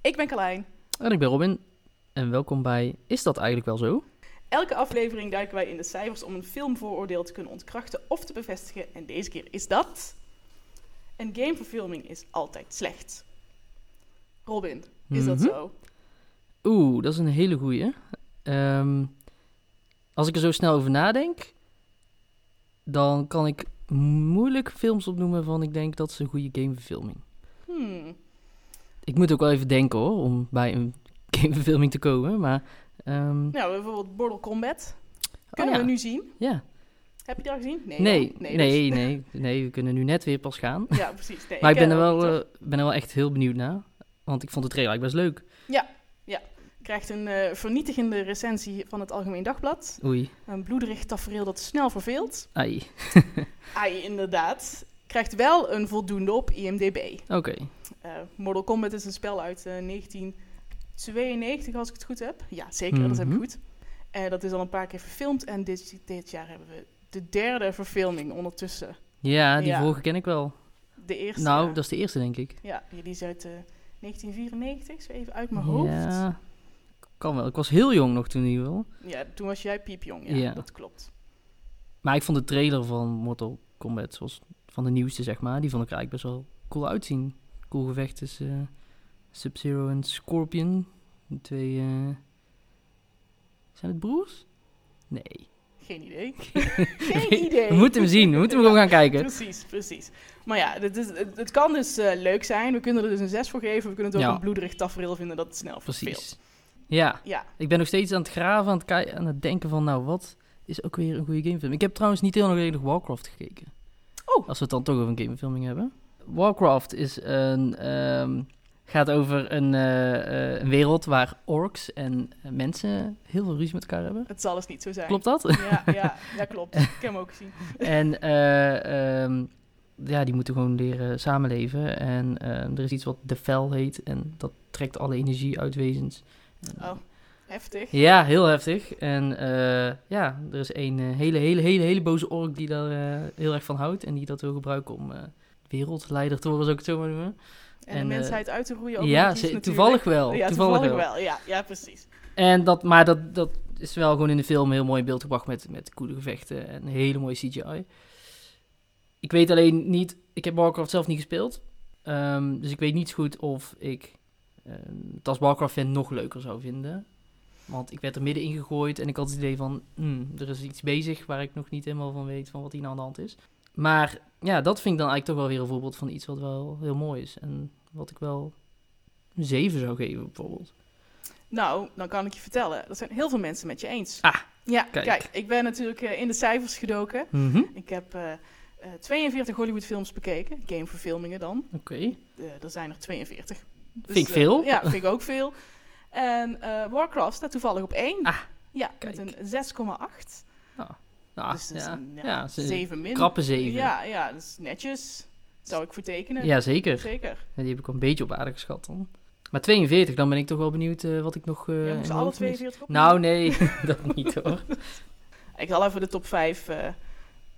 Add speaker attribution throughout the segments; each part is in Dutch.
Speaker 1: Ik ben Carlijn.
Speaker 2: En ik ben Robin en welkom bij Is dat eigenlijk wel zo?
Speaker 1: Elke aflevering duiken wij in de cijfers om een filmvooroordeel te kunnen ontkrachten of te bevestigen. En deze keer is dat... Een gameverfilming is altijd slecht. Robin, is dat
Speaker 2: Mhm.
Speaker 1: zo?
Speaker 2: Oeh, dat is een hele goeie. Ehm, als ik er zo snel over nadenk, dan kan ik moeilijk films opnoemen van ik denk dat is een goede gameverfilming.
Speaker 1: Hmm.
Speaker 2: Ik moet ook wel even denken hoor, om bij een gameverfilming te komen, maar... ehm,
Speaker 1: Nou, bijvoorbeeld Mortal Kombat. Kunnen
Speaker 2: oh ja,
Speaker 1: we nu zien?
Speaker 2: Ja.
Speaker 1: Heb je die al gezien? Nee.
Speaker 2: Nee,
Speaker 1: hè?
Speaker 2: nee,
Speaker 1: dus-
Speaker 2: nee, nee, we kunnen nu net weer pas gaan.
Speaker 1: Ja, precies. Nee,
Speaker 2: Maar ik ben
Speaker 1: ken
Speaker 2: er,
Speaker 1: hem ook
Speaker 2: wel,
Speaker 1: niet, hoor.
Speaker 2: eh, ben er wel echt heel benieuwd naar, want ik vond de trailer eigenlijk best leuk.
Speaker 1: Krijgt een eh, vernietigende recensie van het Algemeen Dagblad.
Speaker 2: Oei,
Speaker 1: Een bloederig tafereel dat snel verveelt.
Speaker 2: ai,
Speaker 1: Ai, inderdaad. Krijgt wel een voldoende op IMDb.
Speaker 2: oké.
Speaker 1: Eh, Mortal Kombat is een spel uit eh, 1992, als ik het goed heb. Ja, zeker, dat heb ik
Speaker 2: Mhm.
Speaker 1: goed. Eh, dat is al een paar keer verfilmd. En dit, dit jaar hebben we de derde verfilming ondertussen.
Speaker 2: Ja, die
Speaker 1: Ja.
Speaker 2: vorige ken ik wel.
Speaker 1: De eerste.
Speaker 2: nou,
Speaker 1: ja.
Speaker 2: dat is de eerste, denk ik.
Speaker 1: Ja, die is uit eh, 1994, zo even uit mijn hoofd.
Speaker 2: Ja, kan wel. Ik was heel jong nog toen in ieder geval.
Speaker 1: Ja, toen was jij piepjong, ja,
Speaker 2: Ja.
Speaker 1: dat klopt.
Speaker 2: Maar ik vond de trailer van Mortal Kombat, zoals van de nieuwste, zeg maar, die vond ik eigenlijk best wel cool uitzien. Cool gevecht tussen eh, Sub-Zero en Scorpion. De twee... eh, Zijn het broers? Nee.
Speaker 1: Geen idee. Geen idee.
Speaker 2: We moeten hem zien. We moeten hem gewoon gaan kijken.
Speaker 1: Precies, precies. Maar ja, dit is, het, het kan dus eh, leuk zijn. We kunnen er dus een 6 voor geven. We kunnen het ook
Speaker 2: Ja.
Speaker 1: een bloederig tafereel vinden dat het snel verveelt.
Speaker 2: Precies. Ja.
Speaker 1: Ja,
Speaker 2: Ik ben nog steeds aan het graven, aan het, kei- aan het denken van, nou, wat is ook weer een goede gamefilm? Ik heb trouwens niet heel nog Warcraft gekeken.
Speaker 1: Oh.
Speaker 2: Als we het dan toch over een gamefilming hebben. Warcraft is een, ehm, gaat over een, eh, eh, een wereld waar orks en eh, mensen heel veel ruzie met elkaar hebben.
Speaker 1: het zal eens niet zo zijn.
Speaker 2: Klopt dat?
Speaker 1: Ja, ja, ja klopt. Ik heb hem ook gezien.
Speaker 2: En eh, ehm, ja, die moeten gewoon leren samenleven. En ehm, er is iets wat de fel heet. En dat trekt alle energie uit wezens. En- eh,
Speaker 1: Oh, heftig.
Speaker 2: Ja, heel heftig. En eh, ja, er is een eh, hele, hele, hele, hele boze ork die daar eh, heel erg van houdt. En die dat wil gebruiken om eh, wereldleider te worden, zou ik het zo maar noemen.
Speaker 1: En, de
Speaker 2: en, eh,
Speaker 1: mensheid uit te roeien. ook nog
Speaker 2: ja,
Speaker 1: eens
Speaker 2: ze-
Speaker 1: natuurlijk.
Speaker 2: toevallig wel.
Speaker 1: Ja,
Speaker 2: toevallig wel.
Speaker 1: Ja, ja, precies.
Speaker 2: En dat, maar dat, dat is wel gewoon in de film heel mooi in beeld gebracht met, met coole gevechten en hele mooie CGI. Ik weet alleen niet, ik heb Warcraft zelf niet gespeeld. Ehm, dus ik weet niet zo goed of ik ehm, het als Warcraft-fan nog leuker zou vinden. Want ik werd er midden in gegooid en ik had het idee van, hmm, er is iets bezig waar ik nog niet helemaal van weet van wat hier nou aan de hand is. Maar ja, dat vind ik dan eigenlijk toch wel weer een voorbeeld van iets wat wel heel mooi is. En wat ik wel een 7 zou geven bijvoorbeeld.
Speaker 1: Nou, dan kan ik je vertellen. Dat zijn heel veel mensen met je eens.
Speaker 2: Ah,
Speaker 1: Ja, kijk.
Speaker 2: kijk.
Speaker 1: ik ben natuurlijk eh, in de cijfers gedoken.
Speaker 2: Mhm.
Speaker 1: Ik heb eh, eh, 42 Hollywoodfilms bekeken. Gameverfilmingen dan.
Speaker 2: Oké.
Speaker 1: Eh, er zijn er 42. Dus,
Speaker 2: ik
Speaker 1: eh,
Speaker 2: veel.
Speaker 1: ja, vind ik ook veel. En eh, Warcraft staat toevallig op 1.
Speaker 2: Ah,
Speaker 1: ja,
Speaker 2: kijk.
Speaker 1: met een 6,8.
Speaker 2: Nou,
Speaker 1: dus dat is
Speaker 2: ja.
Speaker 1: een ja,
Speaker 2: ja, ze-
Speaker 1: 7 min.
Speaker 2: krappe zeven. Ja.
Speaker 1: Ja, ja, dat is netjes. Zou ik voor tekenen.
Speaker 2: zeker.
Speaker 1: Zeker.
Speaker 2: Ja, Die heb ik wel een beetje op aarde geschat dan. Maar 42, dan ben ik toch wel benieuwd eh, wat ik nog... eh,
Speaker 1: Ja,
Speaker 2: in
Speaker 1: moeten
Speaker 2: mijn
Speaker 1: alle
Speaker 2: hoofd mis.
Speaker 1: 42 op?
Speaker 2: Nou, nee, dat niet hoor.
Speaker 1: Ik zal even de top 5 eh,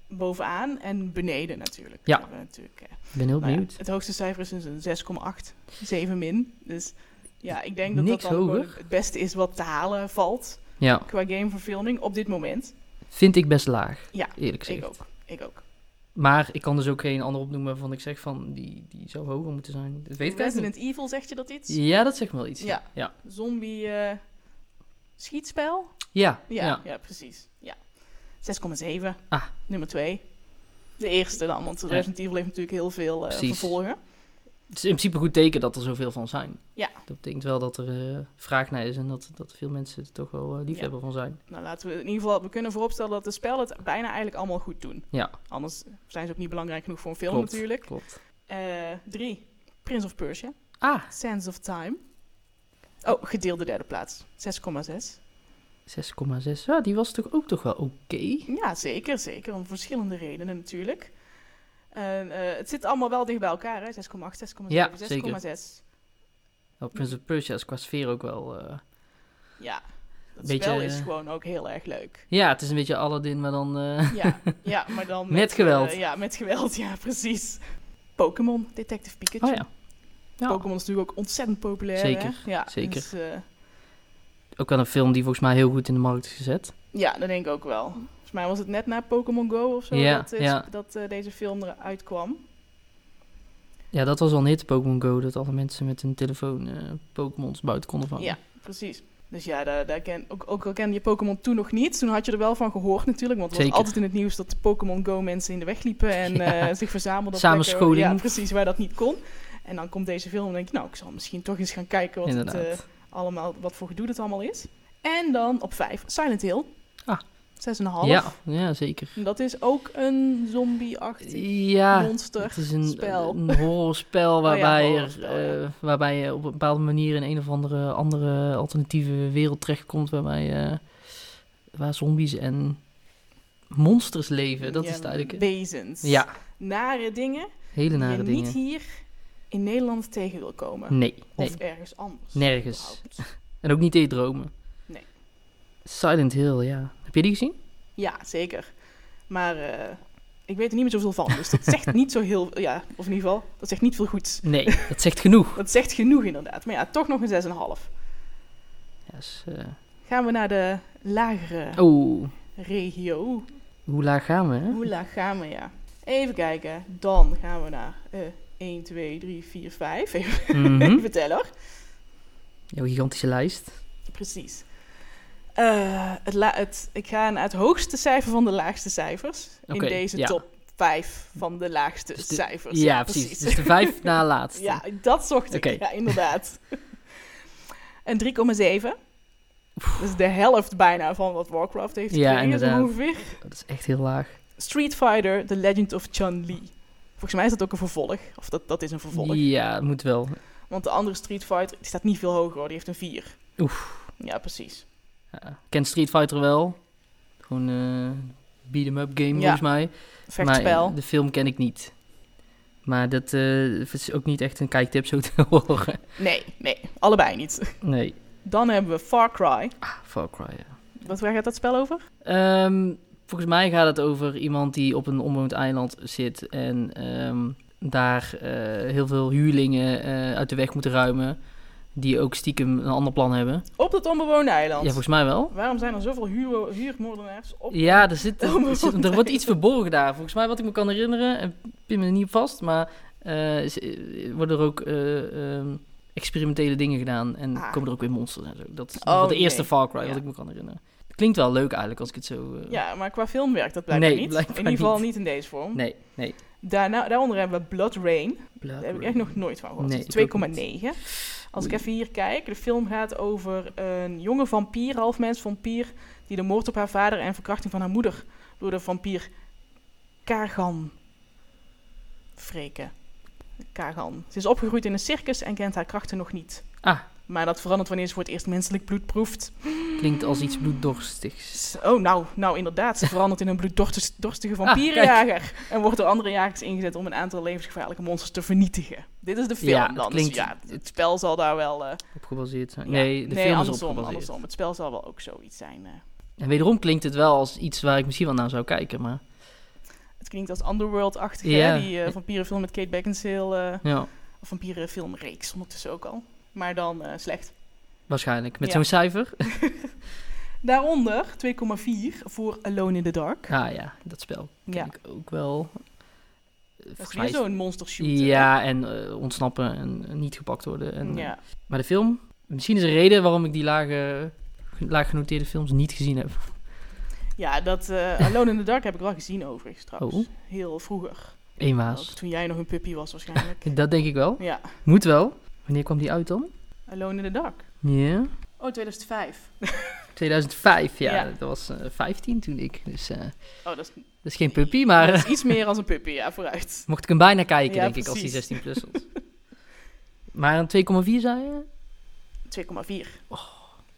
Speaker 1: bovenaan en beneden natuurlijk.
Speaker 2: Ja.
Speaker 1: We hebben natuurlijk eh,
Speaker 2: Ik ben heel
Speaker 1: nou ja,
Speaker 2: benieuwd.
Speaker 1: het hoogste cijfer is dus een 6,8. 7 min. Dus ja, ik denk dat
Speaker 2: Niks
Speaker 1: dat dan gewoon
Speaker 2: hoger.
Speaker 1: het beste is wat te halen valt
Speaker 2: Ja.
Speaker 1: qua gameverfilming op dit moment.
Speaker 2: vind ik best laag,
Speaker 1: Ja,
Speaker 2: eerlijk gezegd.
Speaker 1: Ik ook. Ik ook.
Speaker 2: Maar ik kan dus ook geen ander opnoemen waarvan ik zeg van, die, die zou hoger moeten zijn. Dat weet ik eigenlijk
Speaker 1: Resident Evil, zegt je dat iets?
Speaker 2: niet. Ja, dat zegt me wel iets.
Speaker 1: Ja.
Speaker 2: Ja,
Speaker 1: Zombie eh, schietspel?
Speaker 2: ja.
Speaker 1: Ja, ja.
Speaker 2: ja.
Speaker 1: precies. Ja. 6,7.
Speaker 2: Ah.
Speaker 1: Nummer 2. De eerste dan, want Resident Evil heeft natuurlijk heel veel eh,
Speaker 2: Precies.
Speaker 1: vervolgen.
Speaker 2: Het is in principe een goed teken dat er zoveel van zijn.
Speaker 1: Ja.
Speaker 2: Dat betekent wel dat er eh, vraag naar is en dat, dat veel mensen er toch wel eh, liefhebber van zijn.
Speaker 1: Nou, laten we in ieder geval, we kunnen vooropstellen dat de spellen het bijna eigenlijk allemaal goed doen.
Speaker 2: Ja.
Speaker 1: Anders zijn ze ook niet belangrijk genoeg voor een film
Speaker 2: Klopt.
Speaker 1: natuurlijk.
Speaker 2: Klopt.
Speaker 1: Eh drie. Prince of Persia.
Speaker 2: Ah,
Speaker 1: Sands of Time. Oh, gedeelde derde plaats. 6,6.
Speaker 2: 6,6. Ja, Ah, die was toch ook toch wel oké.
Speaker 1: Ja, zeker, zeker. Om verschillende redenen natuurlijk. En, eh, het zit allemaal wel dicht bij elkaar, hè? 6,8, 6,7,
Speaker 2: Ja,
Speaker 1: 6,6.
Speaker 2: Wel, Prince of Persia is qua sfeer ook wel. eh,
Speaker 1: Ja, dat
Speaker 2: Beetje,
Speaker 1: spel is
Speaker 2: eh,
Speaker 1: gewoon ook heel erg leuk.
Speaker 2: Ja, het is een beetje Aladdin, maar dan. eh,
Speaker 1: Ja, ja maar dan...
Speaker 2: Met geweld.
Speaker 1: eh, ja, met geweld, ja, precies. Pokémon, Detective Pikachu.
Speaker 2: Oh ja. Ja.
Speaker 1: Pokémon is natuurlijk ook ontzettend populair. hè?
Speaker 2: Zeker,
Speaker 1: Ja,
Speaker 2: zeker.
Speaker 1: dus, eh,
Speaker 2: Ook wel een film die volgens mij heel goed in de markt is gezet.
Speaker 1: ja, dat denk ik ook wel. Volgens mij was het net na Pokémon Go of zo
Speaker 2: Ja,
Speaker 1: dat, dit-
Speaker 2: ja.
Speaker 1: dat eh, deze film eruit kwam.
Speaker 2: Ja, dat was al een hit, Pokémon Go, dat alle mensen met hun telefoon eh Pokémons buiten konden vangen.
Speaker 1: Ja, precies. Dus ja, daar, daar ken, ook, ook al kende je Pokémon toen nog niet, toen had je er wel van gehoord natuurlijk. Want het
Speaker 2: Zeker.
Speaker 1: was altijd in het nieuws dat de Pokémon Go mensen in de weg liepen en
Speaker 2: Ja.
Speaker 1: eh, zich verzamelden. op
Speaker 2: Samenscholing.
Speaker 1: plekken, Ja, precies, waar dat niet kon. En dan komt deze film en denk je, nou, ik zal misschien toch eens gaan kijken wat het,
Speaker 2: Inderdaad.
Speaker 1: eh, allemaal, wat voor gedoe het allemaal is. En dan op vijf, Silent Hill.
Speaker 2: Ah.
Speaker 1: Zes en een half.
Speaker 2: ja, ja, zeker.
Speaker 1: En Dat is ook een zombie-achtig
Speaker 2: Ja,
Speaker 1: monster.
Speaker 2: het is een,
Speaker 1: spel. Oh
Speaker 2: een horrorspel waarbij,
Speaker 1: horrorspel,
Speaker 2: er,
Speaker 1: ja.
Speaker 2: eh, waarbij je op een bepaalde manier in een of andere, andere alternatieve wereld terechtkomt waarbij, eh, waar zombies en monsters leven. Dat
Speaker 1: Ja,
Speaker 2: is het eigenlijk. hè?
Speaker 1: Wezens.
Speaker 2: Ja,
Speaker 1: Nare dingen
Speaker 2: hele
Speaker 1: die je
Speaker 2: nare
Speaker 1: niet
Speaker 2: dingen.
Speaker 1: hier in Nederland tegen wil komen.
Speaker 2: Nee, nee.
Speaker 1: Of ergens anders.
Speaker 2: Nergens.
Speaker 1: überhaupt.
Speaker 2: En ook niet in je dromen.
Speaker 1: Nee.
Speaker 2: Silent Hill, ja. Heb je die gezien?
Speaker 1: Ja, zeker. Maar eh, ik weet er niet meer zoveel van. Dus dat zegt niet zo heel... Ja, of in ieder geval, dat zegt niet veel goeds.
Speaker 2: Nee, dat zegt genoeg.
Speaker 1: Dat zegt genoeg inderdaad. Maar ja, toch nog een 6,5.
Speaker 2: Ja, is, eh,
Speaker 1: Gaan we naar de lagere
Speaker 2: Oh,
Speaker 1: regio.
Speaker 2: hoe laag gaan we, hè?
Speaker 1: Hoe laag gaan we, ja. Even kijken. Dan gaan we naar eh 1, 2, 3, 4, 5. Even,
Speaker 2: Mhm.
Speaker 1: even tellen hoor.
Speaker 2: Jouw gigantische lijst.
Speaker 1: Precies. Eh, het la- het, ik ga naar het hoogste cijfer van de laagste cijfers.
Speaker 2: Oké,
Speaker 1: in deze
Speaker 2: ja.
Speaker 1: top 5 van de laagste
Speaker 2: Dus de-
Speaker 1: cijfers.
Speaker 2: Ja, precies. Dus de vijf na laatste.
Speaker 1: ja, dat zocht ik.
Speaker 2: Oké.
Speaker 1: Ja, inderdaad. Een 3,7. Dat is de helft bijna van wat Warcraft heeft
Speaker 2: Ja,
Speaker 1: gekregen, zo
Speaker 2: inderdaad.
Speaker 1: ongeveer.
Speaker 2: Dat is echt heel laag.
Speaker 1: Street Fighter, The Legend of Chun-Li. Volgens mij is dat ook een vervolg. Of dat, dat is een vervolg.
Speaker 2: Ja, het moet wel.
Speaker 1: Want de andere Street Fighter, die staat niet veel hoger hoor. Die heeft een 4.
Speaker 2: Oef.
Speaker 1: Ja, precies.
Speaker 2: Ja. Ik Ken Street Fighter wel. Gewoon eh, een beat-em-up game,
Speaker 1: Ja,
Speaker 2: volgens mij.
Speaker 1: Vechtspel.
Speaker 2: Maar eh, de film ken ik niet. Maar dat eh, is ook niet echt een kijktip, zo te horen.
Speaker 1: Nee, nee. Allebei niet.
Speaker 2: Nee.
Speaker 1: Dan hebben we Far Cry.
Speaker 2: Ah, Far Cry, ja.
Speaker 1: Wat, waar gaat dat spel over?
Speaker 2: Ehm, volgens mij gaat het over iemand die op een onbewoond eiland zit en ehm, daar eh, heel veel huurlingen eh, uit de weg moeten ruimen. Die ook stiekem een ander plan hebben.
Speaker 1: Op dat onbewoonde
Speaker 2: Ja,
Speaker 1: eiland.
Speaker 2: volgens mij wel.
Speaker 1: Waarom zijn er zoveel huur, huurmoordenaars op?
Speaker 2: Ja, er, zit,
Speaker 1: Oh,
Speaker 2: er, zit-
Speaker 1: nee.
Speaker 2: er wordt iets verborgen daar. Volgens mij, wat ik me kan herinneren, en pin me er niet op vast, maar eh, is- eh, worden er ook eh, ehm, experimentele dingen gedaan en
Speaker 1: Ah.
Speaker 2: komen er ook weer monsters en zo. Dat is
Speaker 1: Oh,
Speaker 2: wat de eerste
Speaker 1: nee.
Speaker 2: Far Cry, wat
Speaker 1: Ja.
Speaker 2: ik me kan herinneren. Klinkt wel leuk eigenlijk, als ik het zo... eh,
Speaker 1: Ja, maar qua film werkt dat blijkbaar
Speaker 2: Nee,
Speaker 1: niet.
Speaker 2: blijkbaar
Speaker 1: in ieder geval
Speaker 2: niet.
Speaker 1: niet. in deze vorm.
Speaker 2: Nee, nee.
Speaker 1: Daarna, daaronder hebben we Blood Rain.
Speaker 2: Blood
Speaker 1: Daar heb ik
Speaker 2: Rain.
Speaker 1: echt nog nooit van gehoord.
Speaker 2: Nee,
Speaker 1: Het
Speaker 2: ik ook
Speaker 1: is 2,9. Als ik
Speaker 2: Oei.
Speaker 1: even hier kijk, de film gaat over een jonge vampier, half mens vampier, die de moord op haar vader en verkrachting van haar moeder door de vampier Kagan wreken. Kagan. Ze is opgegroeid in een circus en kent haar krachten nog niet.
Speaker 2: Ah.
Speaker 1: Maar dat verandert wanneer ze voor het eerst menselijk bloed proeft.
Speaker 2: Klinkt als iets bloeddorstigs.
Speaker 1: Oh, nou, nou inderdaad. Ze verandert in een bloeddorstige
Speaker 2: Ah,
Speaker 1: vampierenjager. en wordt door andere jagers ingezet om een aantal levensgevaarlijke monsters te vernietigen. Dit is de film
Speaker 2: Ja, het
Speaker 1: dan.
Speaker 2: klinkt-
Speaker 1: dus ja, het spel zal daar wel... eh,
Speaker 2: Op gebaseerd zijn.
Speaker 1: ja.
Speaker 2: Nee, de film is op
Speaker 1: andersom,
Speaker 2: gebaseerd.
Speaker 1: andersom. Het spel zal wel ook zoiets zijn. eh.
Speaker 2: En wederom klinkt het wel als iets waar ik misschien wel naar zou kijken, maar...
Speaker 1: het klinkt als Underworld-achtig,
Speaker 2: Ja.
Speaker 1: hè? Die eh vampierenfilm met Kate Beckinsale. eh,
Speaker 2: Ja,
Speaker 1: of vampierenfilmreeks ondertussen ook al. Maar dan eh, slecht.
Speaker 2: waarschijnlijk. Met
Speaker 1: Ja.
Speaker 2: zo'n cijfer.
Speaker 1: Daaronder 2,4 voor Alone in the Dark.
Speaker 2: Ah ja, dat spel ken
Speaker 1: Ja.
Speaker 2: ik ook wel. Eh,
Speaker 1: Dat is
Speaker 2: volgens
Speaker 1: weer
Speaker 2: mij is-
Speaker 1: zo'n monster shooter.
Speaker 2: Ja, en eh, ontsnappen en eh, niet gepakt worden. En, eh,
Speaker 1: ja.
Speaker 2: Maar de film, misschien is er een reden waarom ik die lage, laag genoteerde films niet gezien heb.
Speaker 1: Ja, dat eh, Alone in the Dark heb ik wel gezien overigens trouwens.
Speaker 2: Oh.
Speaker 1: Heel vroeger.
Speaker 2: Eenmaals.
Speaker 1: Toen jij nog een puppy was waarschijnlijk.
Speaker 2: Dat denk ik wel.
Speaker 1: ja,
Speaker 2: Moet wel. Wanneer kwam die uit dan?
Speaker 1: Alone in the Dark.
Speaker 2: Ja.
Speaker 1: Oh, 2005.
Speaker 2: 2005, ja.
Speaker 1: Ja.
Speaker 2: Dat was eh, 15 toen ik. Dus eh,
Speaker 1: Oh, dat is,
Speaker 2: dat is geen puppy, maar
Speaker 1: dat
Speaker 2: eh,
Speaker 1: is iets meer als een puppy, ja, vooruit.
Speaker 2: mocht ik hem bijna kijken,
Speaker 1: Ja,
Speaker 2: denk ik, als die
Speaker 1: precies.
Speaker 2: 16 plus was. maar een 2,4 zei je?
Speaker 1: 2,4.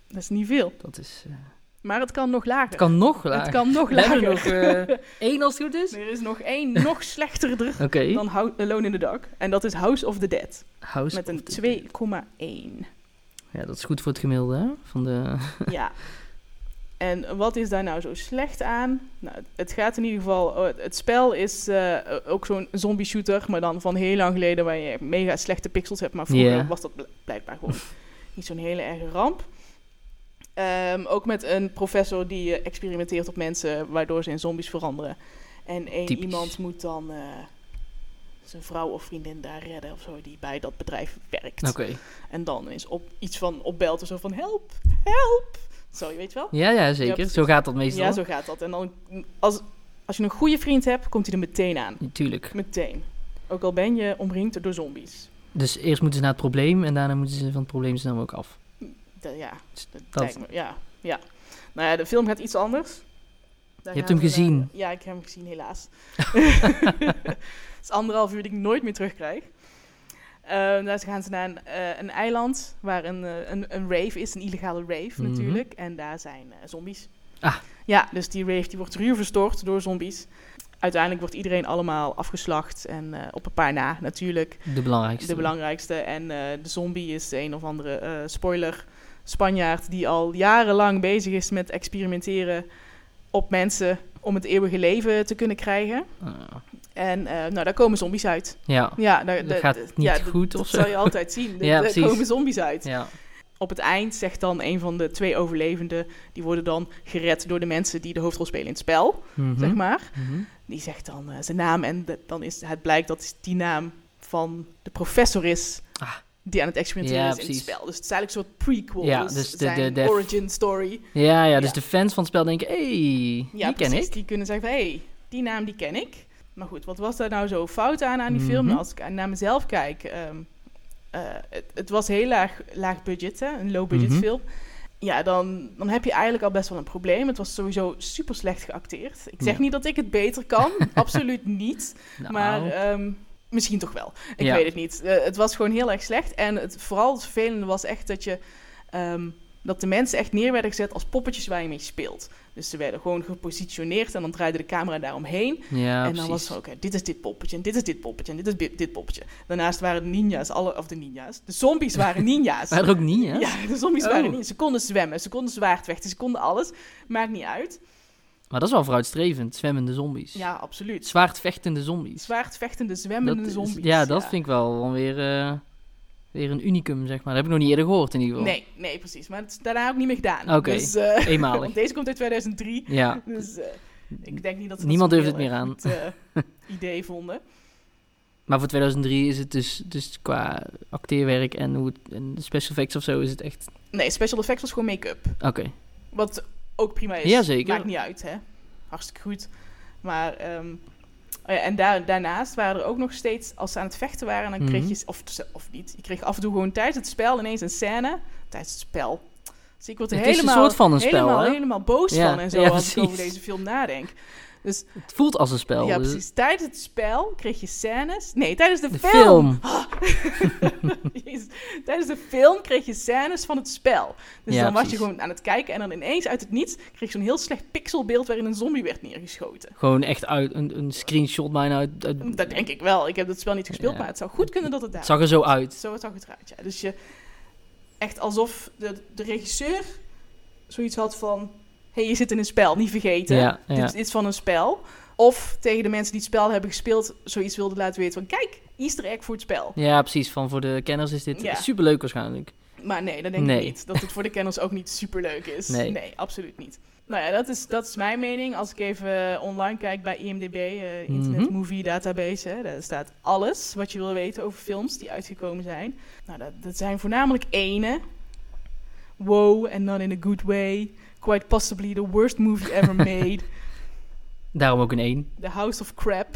Speaker 1: Dat is niet veel.
Speaker 2: Dat is... eh,
Speaker 1: Maar het kan nog lager.
Speaker 2: Oh. het kan nog lager.
Speaker 1: Het kan nog
Speaker 2: We hebben er
Speaker 1: lager.
Speaker 2: nog eh, één als het goed is.
Speaker 1: Er is nog één nog slechterder
Speaker 2: Oké.
Speaker 1: dan Hou- Alone in the Dark. En dat is House of the Dead.
Speaker 2: House
Speaker 1: Met
Speaker 2: of the-
Speaker 1: een 2,1.
Speaker 2: Ja, dat is goed voor het gemiddelde hè? van de
Speaker 1: Ja. En wat is daar nou zo slecht aan? Nou, het gaat in ieder geval. eh, Het spel is eh, ook zo'n zombie shooter, maar dan van heel lang geleden waar je mega slechte pixels hebt. Maar vroeger
Speaker 2: Ja.
Speaker 1: was dat bl- blijkbaar gewoon niet zo'n hele erge ramp. Ehm, ook met een professor die eh, experimenteert op mensen, waardoor ze in zombies veranderen. En één
Speaker 2: Typisch.
Speaker 1: iemand moet dan eh, zijn vrouw of vriendin daar redden of zo, die bij dat bedrijf werkt.
Speaker 2: Oké.
Speaker 1: En dan is op iets van opbelt of zo van help, help. Zo, je weet wel.
Speaker 2: Ja, ja,
Speaker 1: Ja,
Speaker 2: zeker.
Speaker 1: precies.
Speaker 2: zo gaat dat meestal.
Speaker 1: Ja, zo gaat dat. En dan, als, als je een goede vriend hebt, komt hij er meteen aan.
Speaker 2: Natuurlijk.
Speaker 1: Meteen. Ook al ben je omringd door zombies.
Speaker 2: Dus eerst moeten ze naar het probleem en daarna moeten ze van het probleem snel ook af.
Speaker 1: Da- ja, dat,
Speaker 2: Dat-
Speaker 1: lijkt me. Ja, ja. Nou ja, de film gaat iets anders. Daar
Speaker 2: Je hebt
Speaker 1: gaan
Speaker 2: hem
Speaker 1: ze
Speaker 2: gezien.
Speaker 1: naar- ja, ik heb hem gezien, helaas. Het is anderhalf uur die ik nooit meer terugkrijg. Eh, daar gaan ze naar een, eh, een eiland waar een, eh, een, een rave is, een illegale rave
Speaker 2: Mhm.
Speaker 1: natuurlijk. En daar zijn eh, zombies.
Speaker 2: Ah.
Speaker 1: Ja, dus die rave die wordt ruw verstoord door zombies. Uiteindelijk wordt iedereen allemaal afgeslacht en eh, op een paar na natuurlijk.
Speaker 2: De belangrijkste.
Speaker 1: De belangrijkste. En eh, de zombie is een of andere eh, spoiler. Spanjaard die al jarenlang bezig is met experimenteren op mensen om het eeuwige leven te kunnen krijgen.
Speaker 2: Ah,
Speaker 1: En eh, nou, daar komen zombies uit.
Speaker 2: ja.
Speaker 1: Ja, daar,
Speaker 2: Dat
Speaker 1: daar-
Speaker 2: gaat
Speaker 1: d-
Speaker 2: niet
Speaker 1: ja, d-
Speaker 2: goed
Speaker 1: dat
Speaker 2: of zo.
Speaker 1: zal je altijd zien.
Speaker 2: Ja,
Speaker 1: Er- er
Speaker 2: precies.
Speaker 1: komen zombies uit.
Speaker 2: Ja.
Speaker 1: Op het eind zegt dan een van de twee overlevenden, die worden dan gered door de mensen die de hoofdrol spelen in het spel,
Speaker 2: Mhm.
Speaker 1: zeg maar.
Speaker 2: Mhm.
Speaker 1: Die zegt dan eh, zijn naam en de- dan is het blijkt dat die naam van de professor is
Speaker 2: Ah.
Speaker 1: die aan het experimenteren
Speaker 2: Ja,
Speaker 1: is in het
Speaker 2: precies.
Speaker 1: spel. Dus het is eigenlijk een soort prequel,
Speaker 2: Ja,
Speaker 1: dus,
Speaker 2: dus de-
Speaker 1: zijn
Speaker 2: de- de-
Speaker 1: origin story.
Speaker 2: Ja, ja, dus
Speaker 1: Ja.
Speaker 2: de fans van het spel denken, hey,
Speaker 1: Ja,
Speaker 2: die ken
Speaker 1: precies.
Speaker 2: ik.
Speaker 1: Die kunnen zeggen van, hé, hey, die naam die ken ik. Maar goed, wat was daar nou zo fout aan aan die film?
Speaker 2: Mhm.
Speaker 1: Nou, Als ik naar mezelf kijk, ehm, eh, het, het was heel laag, laag budget, hè? een low budget
Speaker 2: Mhm.
Speaker 1: film. Ja, dan, dan heb je eigenlijk al best wel een probleem. Het was sowieso super slecht geacteerd. Ik zeg
Speaker 2: Ja.
Speaker 1: niet dat ik het beter kan, absoluut niet.
Speaker 2: Nou,
Speaker 1: Maar ehm, misschien toch wel. Ik
Speaker 2: Ja.
Speaker 1: weet het niet. Eh, het was gewoon heel erg slecht. En het, vooral het vervelende was echt dat je... ehm, dat de mensen echt neer werden gezet als poppetjes waar je mee speelt. Dus ze werden gewoon gepositioneerd en dan draaide de camera daaromheen.
Speaker 2: ja,
Speaker 1: en dan
Speaker 2: precies.
Speaker 1: was het, oké, dit is dit poppetje en dit is dit poppetje en dit is bi- dit poppetje. Daarnaast waren de ninja's, alle, of de ninja's, de zombies waren ninja's.
Speaker 2: Maar er ook niet, hè?
Speaker 1: ja, de zombies
Speaker 2: Oh.
Speaker 1: waren niet. Ze konden zwemmen, ze konden zwaardvechten, ze konden alles. Maakt niet uit.
Speaker 2: Maar dat is wel vooruitstrevend, zwemmende zombies.
Speaker 1: Ja, absoluut.
Speaker 2: Zwaardvechtende zombies.
Speaker 1: Zwaardvechtende,
Speaker 2: Dat
Speaker 1: zwemmende
Speaker 2: is-
Speaker 1: zombies.
Speaker 2: ja, dat vind ik wel dan weer, eh, weer een unicum, zeg maar. Dat heb ik nog niet eerder gehoord, in ieder geval.
Speaker 1: Nee, nee, precies. Maar het is daarna ook niet meer gedaan.
Speaker 2: Oké.
Speaker 1: Dus, eh,
Speaker 2: Eenmalig.
Speaker 1: want deze komt uit 2003.
Speaker 2: Ja.
Speaker 1: Dus eh, ik denk niet dat ze
Speaker 2: Niemand
Speaker 1: dat
Speaker 2: durft
Speaker 1: zo'n
Speaker 2: het meer
Speaker 1: heel
Speaker 2: aan.
Speaker 1: erg goed, eh, idee vonden.
Speaker 2: Maar voor 2003 is het dus, dus qua acteerwerk en, hoe het, en de special effects of zo is het echt...
Speaker 1: Nee, special effects was gewoon make-up.
Speaker 2: Oké.
Speaker 1: Wat ook prima is.
Speaker 2: Ja, zeker.
Speaker 1: Maakt niet uit, hè. Hartstikke goed. Maar, ehm, oh ja, en daar, daarnaast waren er ook nog steeds, als ze aan het vechten waren, dan
Speaker 2: Mhm.
Speaker 1: kreeg je, of, ze- of niet, je kreeg af en toe gewoon tijdens het spel ineens een scène. Tijdens het spel. Dus ik word er
Speaker 2: Het is een
Speaker 1: helemaal,
Speaker 2: soort van een spel,
Speaker 1: helemaal,
Speaker 2: hè?
Speaker 1: helemaal boos
Speaker 2: Ja,
Speaker 1: van en zo
Speaker 2: ja,
Speaker 1: als ik over
Speaker 2: precies.
Speaker 1: deze film nadenk. Dus
Speaker 2: Het voelt als een spel.
Speaker 1: ja,
Speaker 2: dus-
Speaker 1: precies. Tijdens het spel kreeg je scènes. Nee, tijdens de,
Speaker 2: De
Speaker 1: film.
Speaker 2: film.
Speaker 1: Jezus. Tijdens de film kreeg je scènes van het spel. Dus
Speaker 2: Ja,
Speaker 1: dan was je
Speaker 2: precies.
Speaker 1: gewoon aan het kijken en dan ineens uit het niets kreeg je zo'n heel slecht pixelbeeld waarin een zombie werd neergeschoten.
Speaker 2: Gewoon echt uit, een, een screenshot bijna uit... uit-
Speaker 1: Dat denk ik wel. Ik heb dat spel niet gespeeld,
Speaker 2: Ja.
Speaker 1: maar het zou goed kunnen dat het daar.
Speaker 2: Het zag er zo uit.
Speaker 1: Zo zag het eruit. Ja. Dus je echt alsof de, de regisseur zoiets had van: hé, hey, je zit in een spel, niet vergeten.
Speaker 2: Ja,
Speaker 1: Dit
Speaker 2: ja.
Speaker 1: is iets van een spel. Of tegen de mensen die het spel hebben gespeeld, zoiets wilden laten weten van: kijk, Easter egg voor het spel.
Speaker 2: Ja, precies. Van voor de kenners is dit
Speaker 1: Ja.
Speaker 2: superleuk waarschijnlijk.
Speaker 1: Maar nee, dat denk ik
Speaker 2: Nee.
Speaker 1: niet. Dat het voor de kenners ook niet superleuk is.
Speaker 2: Nee.
Speaker 1: absoluut niet. Nou ja, dat is, dat is mijn mening. Als ik even eh, online kijk bij IMDb, eh, Internet
Speaker 2: Mhm.
Speaker 1: Movie Database, hè, daar staat alles wat je wil weten over films die uitgekomen zijn. Nou, dat, dat zijn voornamelijk ene. Wow, and not in a good way. Quite possibly the worst movie ever made.
Speaker 2: Daarom ook een 1.
Speaker 1: The House of Crap.